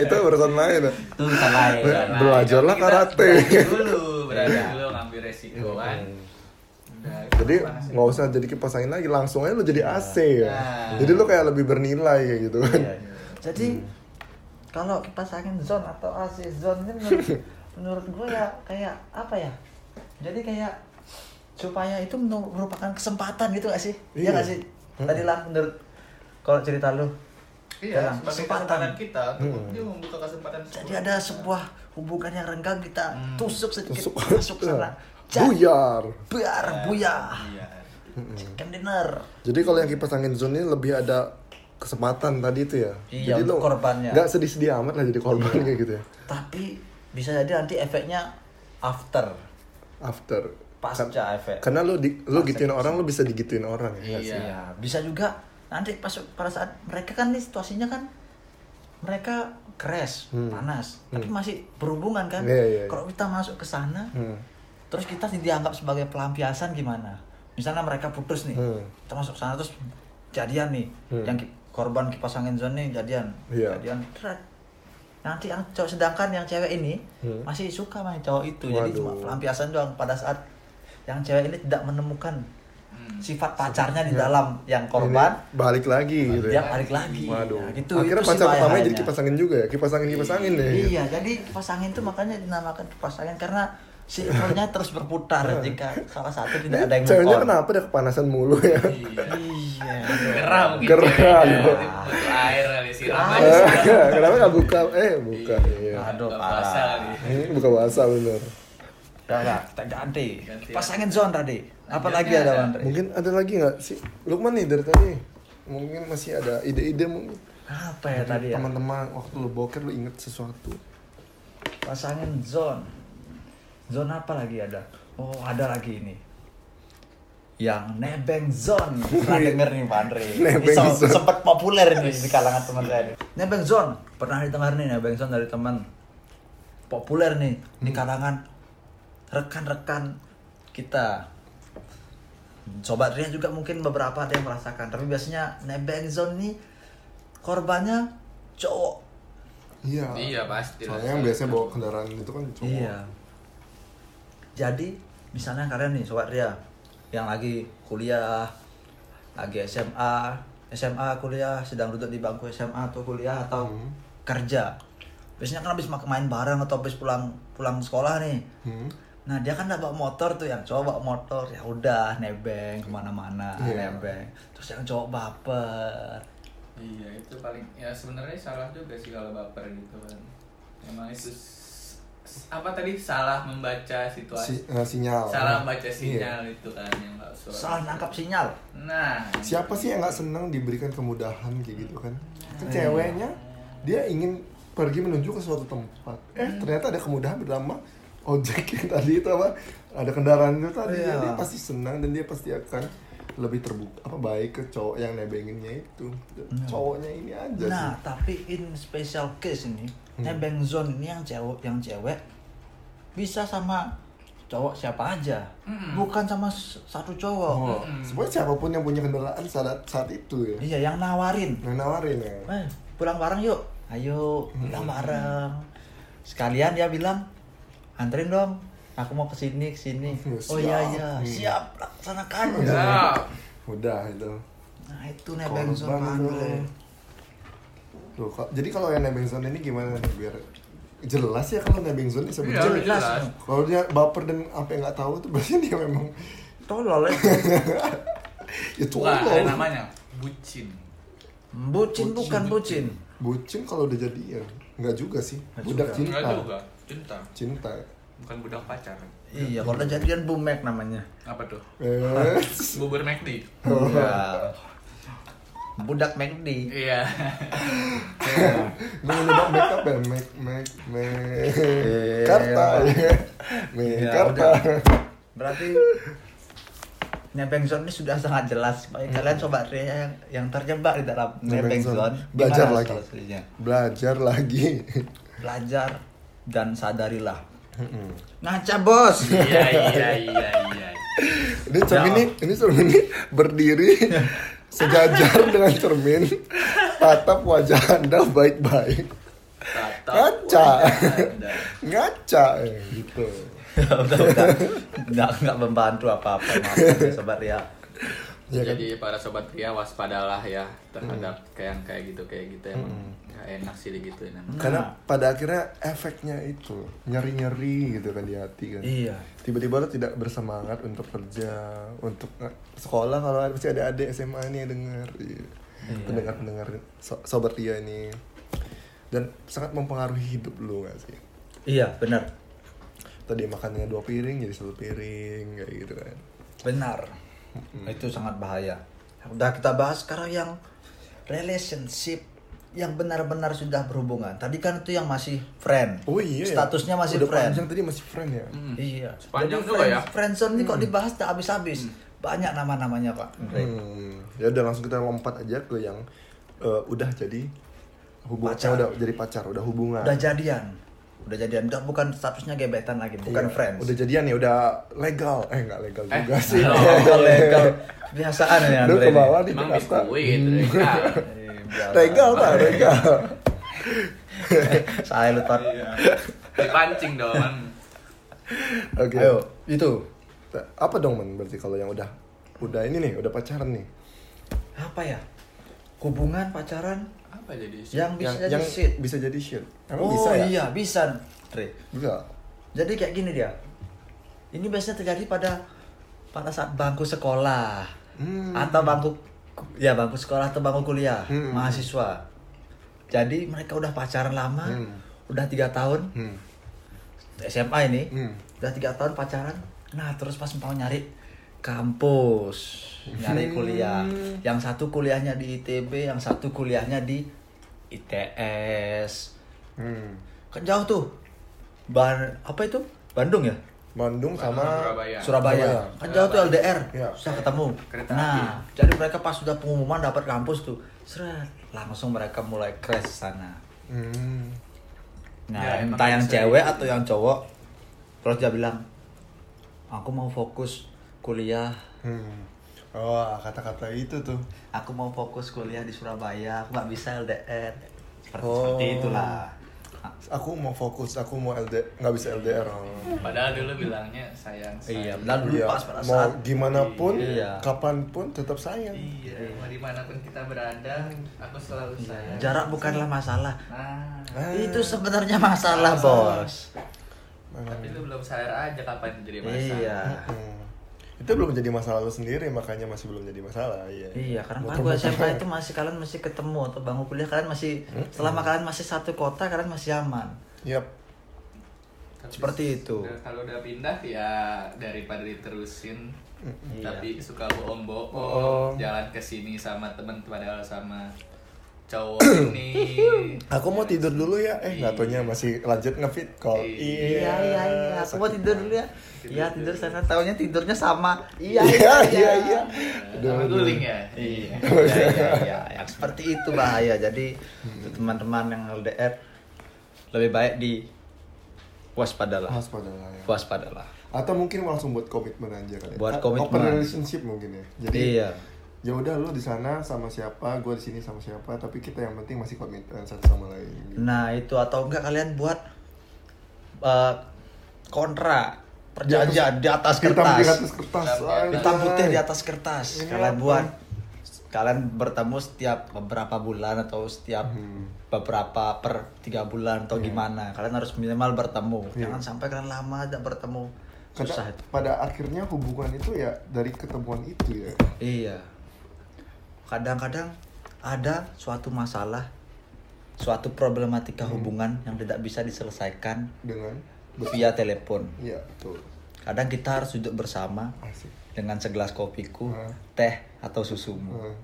S1: itu urusan lain.
S2: tuh salah ya
S3: Karena
S1: Belajarlah
S3: Iya, kita
S1: karate.
S3: berani dulu, berani
S2: Iya.
S3: dulu ngambil kan. resikoan. Udah,
S1: Jadi
S3: panas-panasin.
S1: nggak usah jadi kipas angin lagi, langsung aja lu jadi AC ya.
S3: Nah.
S1: Jadi lu kayak lebih bernilai kayak gitu kan.
S2: Iya. Jadi kalau kipas angin zone atau AC zone ini menurut, menurut gue ya kayak apa ya? Jadi kayak supaya itu menur- merupakan kesempatan gitu gak sih? Iya
S1: Iya.
S2: gak sih? Tadi lah menurut kalau cerita lu.
S3: Iya,
S2: Dalam
S3: sebagai
S2: kesempatan.
S3: kesempatan kita untuk dia membuka kesempatan
S2: Jadi
S3: sebuah-
S2: ada sebuah hubungan yang renggang kita
S3: Hmm.
S2: tusuk sedikit
S1: Tusuk.
S2: masuk sana. Jar,
S1: Iya. Buyar.
S2: biar buyah.
S3: Iya.
S2: Chicken dinner.
S1: Jadi kalau yang kipas angin zone ini lebih ada kesempatan tadi itu ya.
S2: Iya,
S1: jadi
S2: untuk korbannya. Iya.
S1: Gak sedih-sedih amat lah jadi korban kayak gitu ya.
S2: Tapi bisa jadi nanti efeknya after
S1: After. Kan-
S2: pasca efek.
S1: Karena lu di, lu gituin orang, lu bisa digituin orang ya.
S3: Iya.
S2: Iya, bisa juga nanti pas pada saat mereka kan nih situasinya kan mereka crash, panas, tapi masih berhubungan kan.
S1: Hmm. Iya, iya, iya.
S2: Kalau kita masuk ke sana,
S1: Hmm.
S2: terus kita dianggap sebagai pelampiasan gimana? Misalnya mereka putus nih,
S1: Hmm.
S2: kita masuk sana terus jadian nih,
S1: Hmm.
S2: yang ki- korban kipas angin zone nih jadian,
S1: Iya.
S2: jadian. Tret. Nanti yang cowok sedangkan yang cewek ini
S1: Hmm.
S2: masih suka sama yang cowok itu, jadi cuma
S1: Waduh.
S2: pelampiasan doang pada saat yang cewek ini tidak menemukan
S3: Hmm.
S2: sifat pacarnya di dalam yang korban
S1: Iya. Ini balik lagi gitu
S2: dia
S1: ya.
S2: balik lagi
S1: Waduh.
S2: Nah, gitu
S1: Akhirnya
S2: itu sih
S1: pacar pertama
S2: bahayanya.
S1: jadi kipas angin juga ya. Kipas angin kipas angin ya.
S2: iya jadi kipas angin tuh makanya dinamakan kipas angin karena siklusnya terus berputar jika salah satu tidak ada yang move
S1: Iya. Ceweknya
S2: on.
S1: kenapa udah kepanasan mulu ya?
S3: Iya.
S2: iya
S3: Gerah mungkin.
S1: Gerah,
S3: ceweknya.
S1: gitu.
S3: Butuh air kali siram
S2: Ah.
S3: aja.
S1: Eh, kenapa gak buka? Eh, buka. Iya.
S2: aduh
S3: Buka puasa
S2: parah
S3: kali.
S1: Hmm, buka bahasa bener.
S2: udah lah kita ganti Nah, iya,
S3: Ganti
S2: kipas
S3: ya.
S2: angin zone tadi apa
S3: Lanjutnya
S2: lagi ada
S3: ada.
S2: Andre
S1: Mungkin ada lagi nggak sih? Lukman nih dari tadi mungkin masih ada ide-ide mungkin
S2: apa ya tadi ya
S1: teman-teman waktu lu boker lu inget sesuatu
S2: kipas angin zone zone apa lagi ada oh ada lagi ini yang nebeng zone pernah denger nih Pak Andre
S1: Nebeng
S2: ini
S1: zone.
S2: sempat populer ini di kalangan teman saya nih. nebeng zone pernah didengar nih nebeng zone dari teman populer nih di kalangan rekan-rekan kita sobat Ria juga mungkin beberapa ada yang merasakan tapi biasanya nebeng zone nih korbannya cowok
S1: iya
S3: Iya, pasti lah.
S1: soalnya yang biasanya bawa kendaraan itu kan cowok
S2: Iya. Jadi misalnya kalian nih sobat Ria yang lagi kuliah, lagi SMA, SMA kuliah sedang duduk di bangku SMA atau kuliah atau
S1: Hmm.
S2: kerja. Biasanya kan habis mak- main bareng atau habis pulang pulang sekolah nih.
S1: Hmm.
S2: Nah dia kan nggak bawa motor tuh yang cowok bawa motor ya udah nebeng kemana-mana
S1: Iya.
S2: nebeng. Terus yang cowok baper.
S3: Iya, itu paling ya sebenarnya salah juga sih kalau baper gitu kan. Emang itu s- s- apa tadi salah membaca
S1: si,
S3: situasi.
S1: eh, sinyal
S3: Salah membaca
S1: Iya.
S3: sinyal itu kan yang enggak suara.
S2: Salah nangkap sinyal.
S3: Nah,
S1: siapa sih yang nggak senang diberikan kemudahan kayak gitu kan kan
S2: Iya.
S1: ceweknya dia ingin pergi menuju ke suatu tempat eh
S2: Hmm.
S1: ternyata ada kemudahan bernama ojek yang tadi itu apa ada kendaraan itu tadi
S2: Iya.
S1: dia pasti senang dan dia pasti akan lebih terbuka apa baik ke cowok yang nebenginnya itu cowoknya ini aja sih
S2: Hmm. Nah, tapi in special case ini, nebeng zone ini yang cewek yang cewek bisa sama cowok siapa aja. Bukan sama s- satu cowok.
S1: Oh, sebenarnya siapapun yang punya kendaraan saat saat itu ya.
S2: Hmm. Iya, yang nawarin.
S1: Yang nawarin ya.
S2: Hmm. Eh, pulang bareng yuk. Ayo, pulang bareng. sekalian dia bilang anterin dong aku mau kesini kesini
S1: Hmm,
S2: oh iya
S1: siap.
S2: iya
S1: Hmm.
S2: siap Iya. laksanakan
S3: Siap.
S1: Udah gitu. itu.
S2: nah itu nih
S1: Korban
S2: Benson Panule
S1: tuh. Loh, kok- jadi kalau yang nebeng zone ini gimana nih biar jelas ya kalau nebeng zone ini
S3: Iya,
S1: sebetulnya
S3: jelas.
S1: Kalau dia baper dan apa yang nggak tahu tuh berarti dia memang
S2: tolol ya
S1: ya
S3: Bukan, ada
S1: tolol.
S3: namanya. Bucin.
S2: bucin bukan bucin
S1: Bucin kalau udah jadian. Nggak juga sih.
S2: Nggak
S1: Budak
S2: juga.
S1: cinta.
S3: Enggak juga. Cinta.
S1: Cinta.
S3: Bukan budak pacaran.
S2: iya kalau udah jadian bumek namanya
S3: Apa tuh?
S1: Eh,
S3: Bubur McD.
S2: Iya. budak McD
S3: Iya.
S1: gue nyoba make up ya, make make make karta ya, make
S2: Iya,
S1: karta.
S2: udah. berarti nebeng zone ini sudah sangat jelas bagi
S1: Hmm.
S2: kalian sobat Ria yang, yang terjebak di dalam
S1: Nebeng
S2: nebeng
S1: zone.
S2: zone
S1: Belajar
S2: gimana
S1: lagi.
S2: solusinya?
S1: Belajar lagi.
S2: belajar dan sadarilah
S1: Hmm.
S2: ngaca bos
S3: Iya, iya, iya, iya.
S1: Ini cermin ini, ini cermin ini berdiri sejajar dengan cermin. Tatap wajah anda baik-baik.
S3: Tatap
S2: Kan?
S1: Ngaca.
S3: wajah Anda.
S1: Ngaca eh, gitu.
S2: udah udah nggak nggak membantu apa apa sobat Ria
S1: Ya kan?
S3: Jadi para sobat pria waspadalah ya terhadap
S2: Hmm.
S3: kayak kayak gitu kayak gitu emang nggak enak sih gitu ya, digituin emang.
S1: Karena pada akhirnya efeknya itu nyeri-nyeri gitu kan di hati kan.
S2: iya
S1: tiba-tiba lo tidak bersemangat untuk kerja untuk nge- sekolah kalau ada- pasti ada adik SMA nih yang denger Iya. pendengar-pendengar so- sobat dia ini dan sangat mempengaruhi hidup lo gak sih
S2: iya benar
S1: tadi makannya dua piring jadi satu piring kayak gitu kan
S2: benar
S1: Hmm.
S2: itu sangat bahaya udah kita bahas sekarang yang relationship yang benar-benar sudah berhubungan tadi kan itu yang masih friend
S1: oh iya ya.
S2: statusnya masih
S1: Udah
S2: friend
S1: panjang tadi masih friend ya
S3: Hmm.
S2: iya
S3: Sepanjang
S2: Jadi
S3: juga
S2: friend-
S3: ya.
S2: friendzone ini kok dibahas tak habis-habis banyak nama-namanya pak
S1: Hmm. ya udah langsung kita lompat aja ke yang eh, udah jadi hubungan
S2: Pacar.
S1: udah jadi pacar udah hubungan
S2: udah jadian udah jadian udah bukan statusnya gebetan lagi bukan
S1: Iya.
S2: friends Oh,
S1: udah jadian ya udah legal eh nggak legal
S3: Eh,
S1: juga sih
S3: halo.
S2: legal legal biasaan ya
S1: Lu
S2: Andre
S1: ke
S2: ini.
S1: bawah di
S3: Emang
S1: Jakarta.
S3: biskuit, gitu ya. mereka.
S2: Eh, biasa.
S1: Regal pak, regal.
S2: saya lu Tor.
S1: Iya.
S3: Dipancing dong.
S1: Oke.
S2: ayo itu
S1: Ta- Apa dong men? Berarti kalau yang udah, udah ini nih, udah pacaran nih.
S2: apa ya hubungan pacaran
S3: Apa jadi sih?
S2: yang bisa jadi
S1: yang
S2: shit
S1: bisa jadi shit. Emang
S2: oh
S1: bisa ya?
S2: iya bisa Andre
S1: Bisa.
S2: jadi kayak gini dia ini biasanya terjadi pada pada saat bangku sekolah
S1: Hmm.
S2: atau bangku ya bangku sekolah atau bangku kuliah
S1: Hmm.
S2: mahasiswa jadi mereka udah pacaran lama
S1: Hmm.
S2: udah tiga tahun
S1: Hmm.
S2: SMA ini
S1: Hmm.
S2: udah tiga tahun pacaran nah terus pas mau nyari kampus nyari
S1: Hmm.
S2: kuliah yang satu kuliahnya di ITB yang satu kuliahnya di ITS
S1: Hmm.
S2: kan jauh tuh ban apa itu Bandung ya
S1: Bandung sama
S3: Ya, Surabaya.
S2: Surabaya.
S1: Surabaya.
S2: Kan jauh tuh LDR.
S1: Iya.
S2: Susah ketemu.
S3: Kereta
S2: nah,
S3: api.
S2: jadi mereka pas sudah pengumuman dapat kampus tuh, seret, langsung mereka mulai crash sana.
S1: Hmm.
S2: Nah,
S3: Ya, emang
S2: entah yang
S3: bisa
S2: cewek
S3: gitu.
S2: atau yang cowok. Terus dia bilang, "Aku mau fokus kuliah.
S1: Hmm. Oh, kata-kata itu tuh.
S2: Aku mau fokus kuliah di Surabaya. Aku nggak bisa LDR." Seperti
S1: Oh.
S2: seperti itulah. Ah,
S1: Aku mau fokus, aku mau LD, nggak bisa LDR. Oh.
S3: Padahal dulu bilangnya sayang.
S2: Iya,
S3: sayang.
S2: dan dulu
S1: Iya.
S2: pas pada
S1: Mau
S2: saat
S1: gimana pun,
S2: Iya.
S1: kapan pun tetap sayang.
S3: Iya, mau dimanapun kita berada, aku selalu
S2: Iya.
S3: sayang.
S2: jarak bukanlah masalah.
S3: Nah,
S1: Ah.
S2: Itu sebenarnya masalah, Bos.
S3: tapi lu belum sadar aja kapan jadi masa.
S2: Iya.
S1: Hmm. Itu belum jadi masalah lu sendiri, makanya masih belum jadi masalah. Iya.
S2: Iya, karena pas
S1: Muter-muter.
S2: gua SMA itu masih kalian masih ketemu atau bangun kuliah kalian masih selama kalian masih satu kota kalian masih aman.
S1: Yap.
S3: Tapi
S2: Seperti itu.
S3: udah- Kalau udah pindah ya daripada diterusin.
S2: Iya.
S3: Tapi suka bohong-bohong,
S1: Bohong.
S3: jalan ke sini sama temen padahal sama cowok ini.
S1: Aku mau tidur dulu ya. Eh, nggak taunya masih lanjut ngefit call.
S3: Iya,
S2: Iya iya iya, aku mau tidur dulu ya.
S3: Tidur
S2: Iya
S3: dulu.
S2: tidur sana tahunya tidurnya sama. Iya
S1: Iya, iya, iya.
S3: Sama guling ya.
S2: Iya iya iya, iya. Yang seperti itu bahaya. Jadi untuk teman-teman yang LDR lebih baik di waspadalah.
S1: Waspada lah ya.
S2: Waspadalah.
S1: Atau mungkin langsung buat komitmen aja kali. Kan
S2: Buat komitmen.
S1: Open relationship mungkin ya. Jadi
S2: Iya.
S1: ya udah lu di sana sama siapa, gua di sini sama siapa, tapi kita yang penting masih komitmen satu sama lain.
S2: Nah itu atau enggak kalian buat eh, kontra perjanjian di atas
S1: Hitam di
S2: kertas.
S1: atas kertas. iya. anjay.
S2: Hitam putih di atas kertas.
S1: Ini
S2: Kalian
S1: apa?
S2: buat kalian bertemu setiap beberapa bulan atau setiap beberapa per tiga bulan atau gimana. Kalian harus minimal bertemu. Jangan sampai kalian lama tidak bertemu.
S1: Karena
S2: Susah itu.
S1: pada akhirnya hubungan itu ya dari ketemuan itu ya.
S2: Iya. Kadang-kadang ada suatu masalah, suatu problematika hubungan yang tidak bisa diselesaikan
S1: Dengan
S2: via telepon.
S1: Iya, betul.
S2: Kadang kita harus duduk bersama
S1: Asik.
S2: dengan segelas kopiku,
S1: Hmm.
S2: teh atau susumu.
S1: Nah,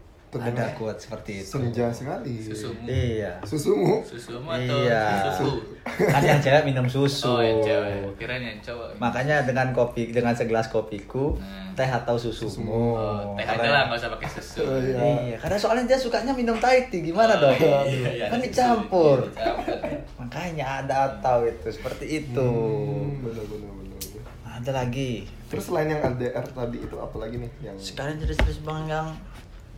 S2: Ada
S1: terdengar
S2: kuat seperti itu.
S1: senja sekali.
S3: Susumu.
S2: Iya.
S1: Susumu.
S3: Susumu atau
S2: Iya.
S3: susu?
S2: Kan yang cewek minum susu.
S3: Oh, yang cewek. Kirain yang cowok.
S2: Makanya dengan kopi dengan segelas kopiku,
S3: Hmm.
S2: teh atau susumu.
S3: Oh, teh aja
S2: Karena-
S3: lah, nggak usah pakai susu.
S1: Oh, iya.
S2: Iya, karena soalnya dia sukanya minum Thai tea, gimana dong?
S3: Iya, iya,
S2: kan
S3: ada susu.
S2: dicampur.
S3: Iya, dicampur.
S2: Makanya ada atau itu seperti itu.
S1: Hmm, benar benar benar. benar.
S2: Ada lagi.
S1: Terus selain yang LDR tadi itu apa lagi nih yang
S2: Sekarang jenis-jenis bang yang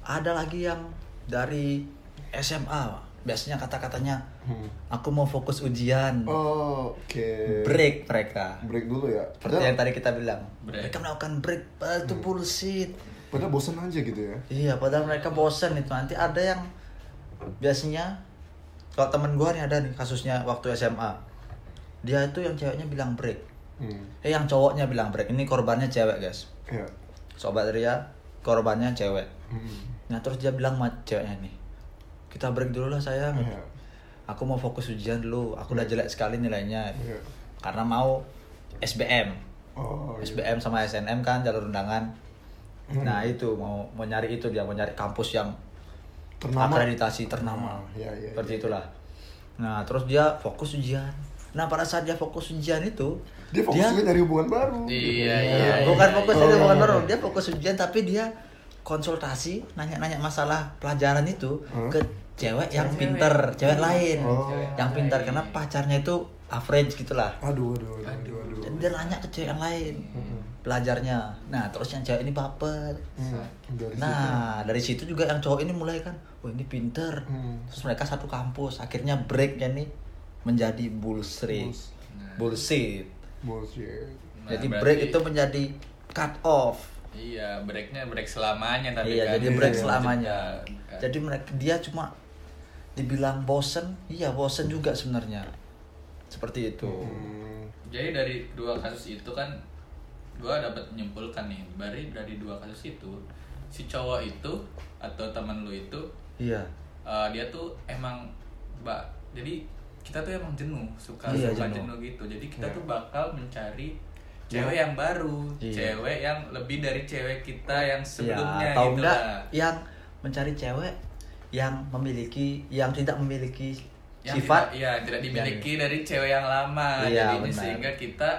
S2: ada lagi yang dari SMA. Biasanya kata-katanya
S1: Hmm.
S2: aku mau fokus ujian.
S1: Oh, oke.
S2: Break mereka.
S1: Break dulu ya.
S2: Seperti yang tadi kita bilang.
S3: Break.
S2: Mereka melakukan break ah, itu
S1: Hmm.
S2: bullshit.
S1: Padahal bosan aja gitu ya.
S2: Iya, padahal mereka bosen itu. Nanti ada yang biasanya kalau temen gua nih ada nih kasusnya waktu SMA. Dia itu yang ceweknya bilang break.
S1: Hmm.
S2: Eh yang cowoknya bilang break. Ini korbannya cewek, guys.
S1: Ya.
S2: Sobat Ria, korbannya cewek.
S1: Hmm.
S2: Nah, terus dia bilang sama ceweknya nih. Kita break dulu lah sayang.
S1: Iya.
S2: Aku mau fokus ujian dulu. Aku udah jelek sekali nilainya.
S1: Iya.
S2: Karena mau SBM.
S1: Oh, iya.
S2: SBM sama SNM kan jalur undangan.
S1: Hmm.
S2: Nah itu mau mau nyari itu dia mau nyari kampus yang
S1: Ternama.
S2: akreditasi ternama.
S1: Ah, iya, iya,
S2: Seperti itulah. Nah terus dia fokus ujian. Nah pada saat dia fokus ujian itu
S1: Dia fokus juga nyari hubungan baru. Gitu.
S3: Iya,
S2: Iya,
S3: iya.
S2: bukan fokus
S1: Oh.
S2: dia bukan baru. dia fokus ujian tapi dia konsultasi nanya-nanya masalah pelajaran itu
S1: Hmm?
S2: ke cewek yang
S3: Cewek. Iya,
S2: pinter, cewek lain,
S1: Oh.
S2: yang pintar karena pacarnya itu average gitulah.
S1: Aduh, aduh, aduh, aduh, aduh.
S2: Jadi dia nanya ke cewek yang lain pelajarnya. Nah, terus yang cewek ini baper.
S1: Hmm. Dari situ.
S2: Nah, dari situ juga yang cowok ini mulai kan, wah ini pinter.
S1: Hmm.
S2: Terus mereka satu kampus. Akhirnya breaknya nih menjadi bullshit.
S1: Bulls. Nah.
S2: Bullshit.
S1: Bullshit.
S3: Nah,
S2: Jadi
S3: berarti-
S2: break itu menjadi cut off.
S3: Iya, breaknya break selamanya tapi
S2: iya,
S3: kan.
S2: jadi break
S1: Iya.
S2: selamanya.
S3: Iya.
S2: Jadi mereka dia cuma dibilang bosen, iya bosen juga sebenarnya. Seperti itu.
S1: Hmm.
S3: Jadi dari dua kasus itu kan gua dapat menyimpulkan nih, dari dari dua kasus itu si cowok itu atau teman lu itu
S2: Iya.
S3: eh, dia tuh emang mbak jadi kita tuh emang jenuh suka
S2: Iya,
S3: suka
S2: jenuh.
S3: jenuh. gitu jadi kita tuh bakal mencari cewek yang baru
S2: Iya.
S3: cewek yang lebih dari cewek kita yang
S2: ya,
S3: sebelumnya
S2: atau
S3: gitu
S2: enggak
S3: lah
S2: yang mencari cewek yang memiliki yang tidak memiliki
S3: yang
S2: sifat
S3: tidak, iya, yang tidak dimiliki dari cewek yang lama
S2: Iya,
S3: jadinya
S2: benar.
S3: sehingga kita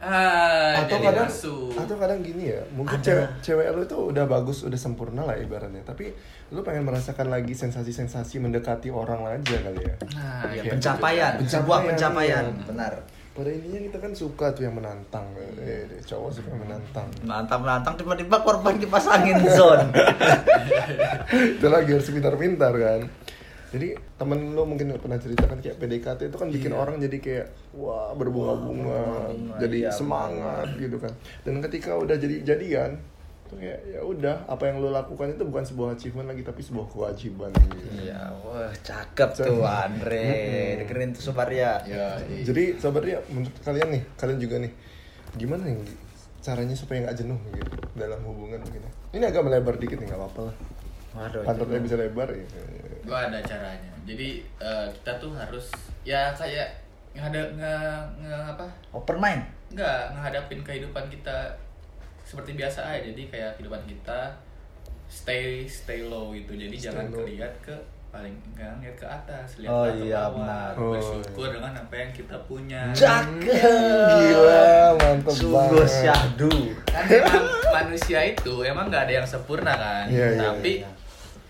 S3: ah
S1: atau
S3: jadi
S1: kadang
S3: masuk
S1: atau kadang gini ya mungkin
S2: Ada.
S1: cewek cewek lu tuh udah bagus udah sempurna lah ibaratnya tapi lu pengen merasakan lagi sensasi-sensasi mendekati orang aja kali ya
S3: nah
S2: ya,
S3: gitu.
S2: pencapaian,
S1: Pencapaian,
S2: sebuah pencapaian
S1: iya.
S2: benar
S1: pada intinya kita kan suka tuh yang menantang eh, eh, cowok suka yang menantang
S2: nantang nantang tiba-tiba korban kipas angin zone
S1: itu lagi harus pintar-pintar kan jadi temen lu mungkin pernah ceritakan kayak PDKT itu kan bikin orang jadi kayak wah berbunga-bunga jadi
S2: iya,
S1: semangat gitu kan dan ketika udah jadi jadian tuh kayak ya udah apa yang lu lakukan itu bukan sebuah achievement lagi tapi sebuah kewajiban gitu.
S2: iya wah cakep tuh Andre dengerin tuh Subarya
S3: Ya, iya.
S1: Jadi sobat Ria, menurut kalian nih, kalian juga nih, gimana yang caranya supaya nggak jenuh gitu dalam hubungan gitu? Ini agak melebar dikit nih, nggak apa-apa lah.
S2: waduh
S1: Pantatnya bisa lebar ya.
S3: gua ada caranya jadi eh, kita tuh harus ya kayak ngada nge, nge apa
S2: open mind
S3: nggak ngehadapin kehidupan kita seperti biasa aja jadi kayak kehidupan kita stay stay low gitu jadi
S1: Stay
S3: jangan
S1: low.
S3: lihat ke paling nggak lihat ke atas lihat
S2: Oh
S3: ke
S2: iya,
S3: bawah
S2: benar.
S1: Oh,
S3: bersyukur dengan apa yang kita punya
S2: cakep
S1: Gila, mantep
S2: sungguh
S1: banget.
S2: syahdu
S3: kan emang manusia itu emang nggak ada yang sempurna kan
S1: Iya, iya,
S3: tapi
S2: iya.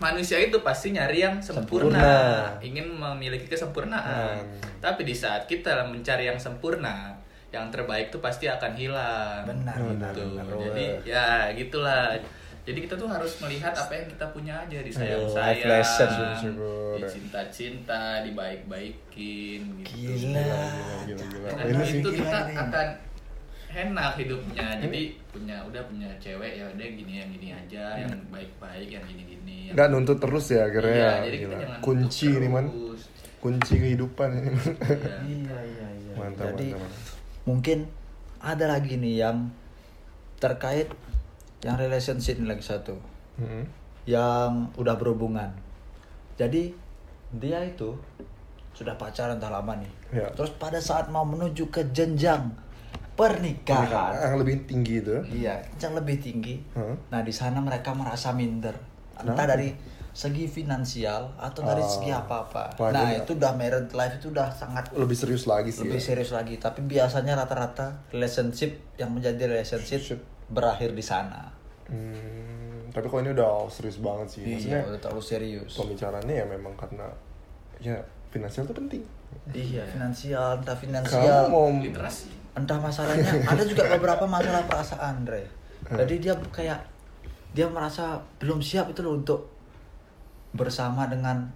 S3: manusia itu pasti nyari yang sempurna,
S2: Sempurna. Hmm.
S3: ingin memiliki kesempurnaan tapi di saat kita mencari yang sempurna yang terbaik itu pasti akan hilang
S2: Benar, benar,
S3: gitu
S2: benar.
S3: jadi ya gitulah jadi Jadi kita tuh harus melihat apa yang kita punya aja di
S2: Ayo, life
S3: sayang
S2: lesson,
S3: sayang,
S2: syukur-syukur.
S3: di cinta cinta, di baik baikin gitu.
S2: Gila.
S1: gila, gila.
S3: Karena
S1: Ini sih.
S3: Nah, itu
S2: gila
S3: kita
S2: ini.
S3: akan enak hidupnya. Jadi punya udah punya cewek ya udah gini yang gini aja, yang baik baik, yang gini gini. Yang...
S1: Hmm. Nggak nuntut terus ya akhirnya
S3: Iya,
S1: ya.
S3: jadi kita
S1: Gila.
S3: jangan
S1: Kunci
S3: terus.
S1: ini man. Kunci kehidupan ini man.
S3: Iya.
S2: Iya, iya, iya.
S1: Mantap,
S2: Jadi,
S1: mantap, mantap.
S2: mungkin ada lagi nih yang terkait yang relationship nih lagi satu.
S1: Mm-mm.
S2: Yang udah berhubungan. Jadi, dia itu sudah pacaran udah lama nih.
S1: Iya.
S2: Terus pada saat mau menuju ke jenjang pernikahan,
S1: Yang lebih tinggi itu.
S2: iya, jenjang lebih tinggi.
S1: Heeh.
S2: Nah, di sana mereka merasa minder. Entah
S1: Hmm. Kenapa?
S2: dari segi finansial atau dari
S1: Ah.
S2: segi apa-apa.
S1: Waduh,
S2: Nah,
S1: ya.
S2: itu udah married life itu udah sangat
S1: Lebih serius lagi sih.
S2: lebih
S1: ya.
S2: serius lagi tapi biasanya rata-rata relationship yang menjadi relationship berakhir di sana
S1: Hmm, tapi kalau ini udah serius banget sih. Maksudnya
S2: iya udah terlalu serius
S1: pembicaraannya ya memang karena ya finansial itu penting.
S2: iya finansial entah finansial
S1: Kamu mau
S3: Literasi.
S2: entah masalahnya ada juga beberapa masalah perasaan
S1: Eh.
S2: Andre jadi dia kayak dia merasa belum siap itu loh untuk bersama dengan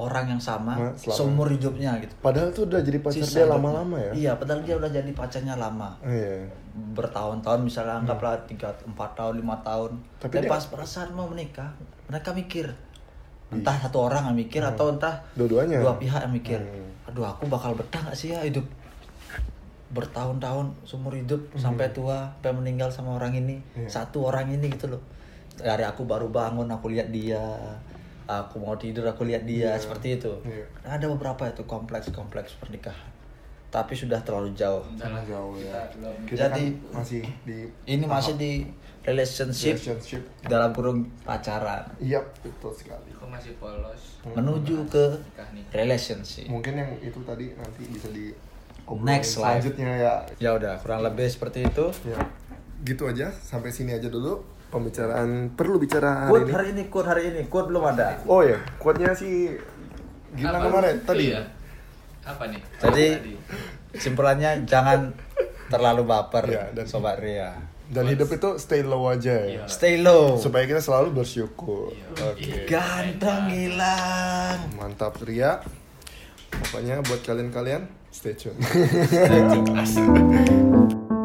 S2: orang yang sama
S1: Ma, selama-
S2: seumur hidupnya gitu
S1: padahal tuh udah jadi pacar
S2: Sisa
S1: dia
S2: hidupnya.
S1: lama-lama ya.
S2: iya padahal dia udah jadi pacarnya lama
S1: Oh, Iya.
S2: bertahun-tahun misalnya anggaplah tiga empat tahun lima tahun
S1: Tapi
S2: tapi
S1: dia-
S2: pas pada saat mau menikah mereka mikir entah satu orang yang mikir atau entah
S1: Hmm. Dua-duanya.
S2: dua pihak yang mikir
S1: Hmm.
S2: aduh aku bakal betah gak sih ya hidup bertahun-tahun seumur hidup
S1: Hmm.
S2: sampai tua sampai meninggal sama orang ini
S1: Iya.
S2: satu orang ini gitu loh dari aku baru bangun aku lihat dia aku mau tidur aku lihat dia seperti itu
S1: Iya.
S2: ada beberapa itu kompleks-kompleks pernikahan tapi sudah terlalu jauh
S3: Jangan
S1: Jauh ya.
S3: Kita belum.
S1: Kita
S2: Jadi-
S1: kan masih di
S2: ini masih di relationship,
S1: relationship.
S2: dalam kurung pacaran
S1: Iya, betul sekali.
S3: Aku masih polos.
S2: Hmm. menuju ke
S3: Nikah nih.
S2: relationship
S1: Mungkin yang itu tadi nanti bisa di
S2: Next slide.
S1: selanjutnya ya.
S2: ya udah kurang lebih seperti itu
S1: Ya. Gitu aja, sampai sini aja dulu pembicaraan perlu bicara hari
S2: quote
S1: ini.
S2: hari Nah, ini quote hari ini quote belum ada
S1: Oh ya, kuatnya sih gimana
S3: Apa?
S1: kemarin tadi.
S3: Iya. Apa nih?
S2: jadi simpulannya jangan terlalu baper
S1: Iya, dan-
S2: sobat Ria
S1: Dan hidup itu stay low aja ya.
S3: Iya.
S2: stay low
S1: Supaya kita selalu bersyukur. Oke.
S2: ganteng hilang
S1: Mantap Ria. Pokoknya buat kalian-kalian stay tune.
S3: Jadi asik.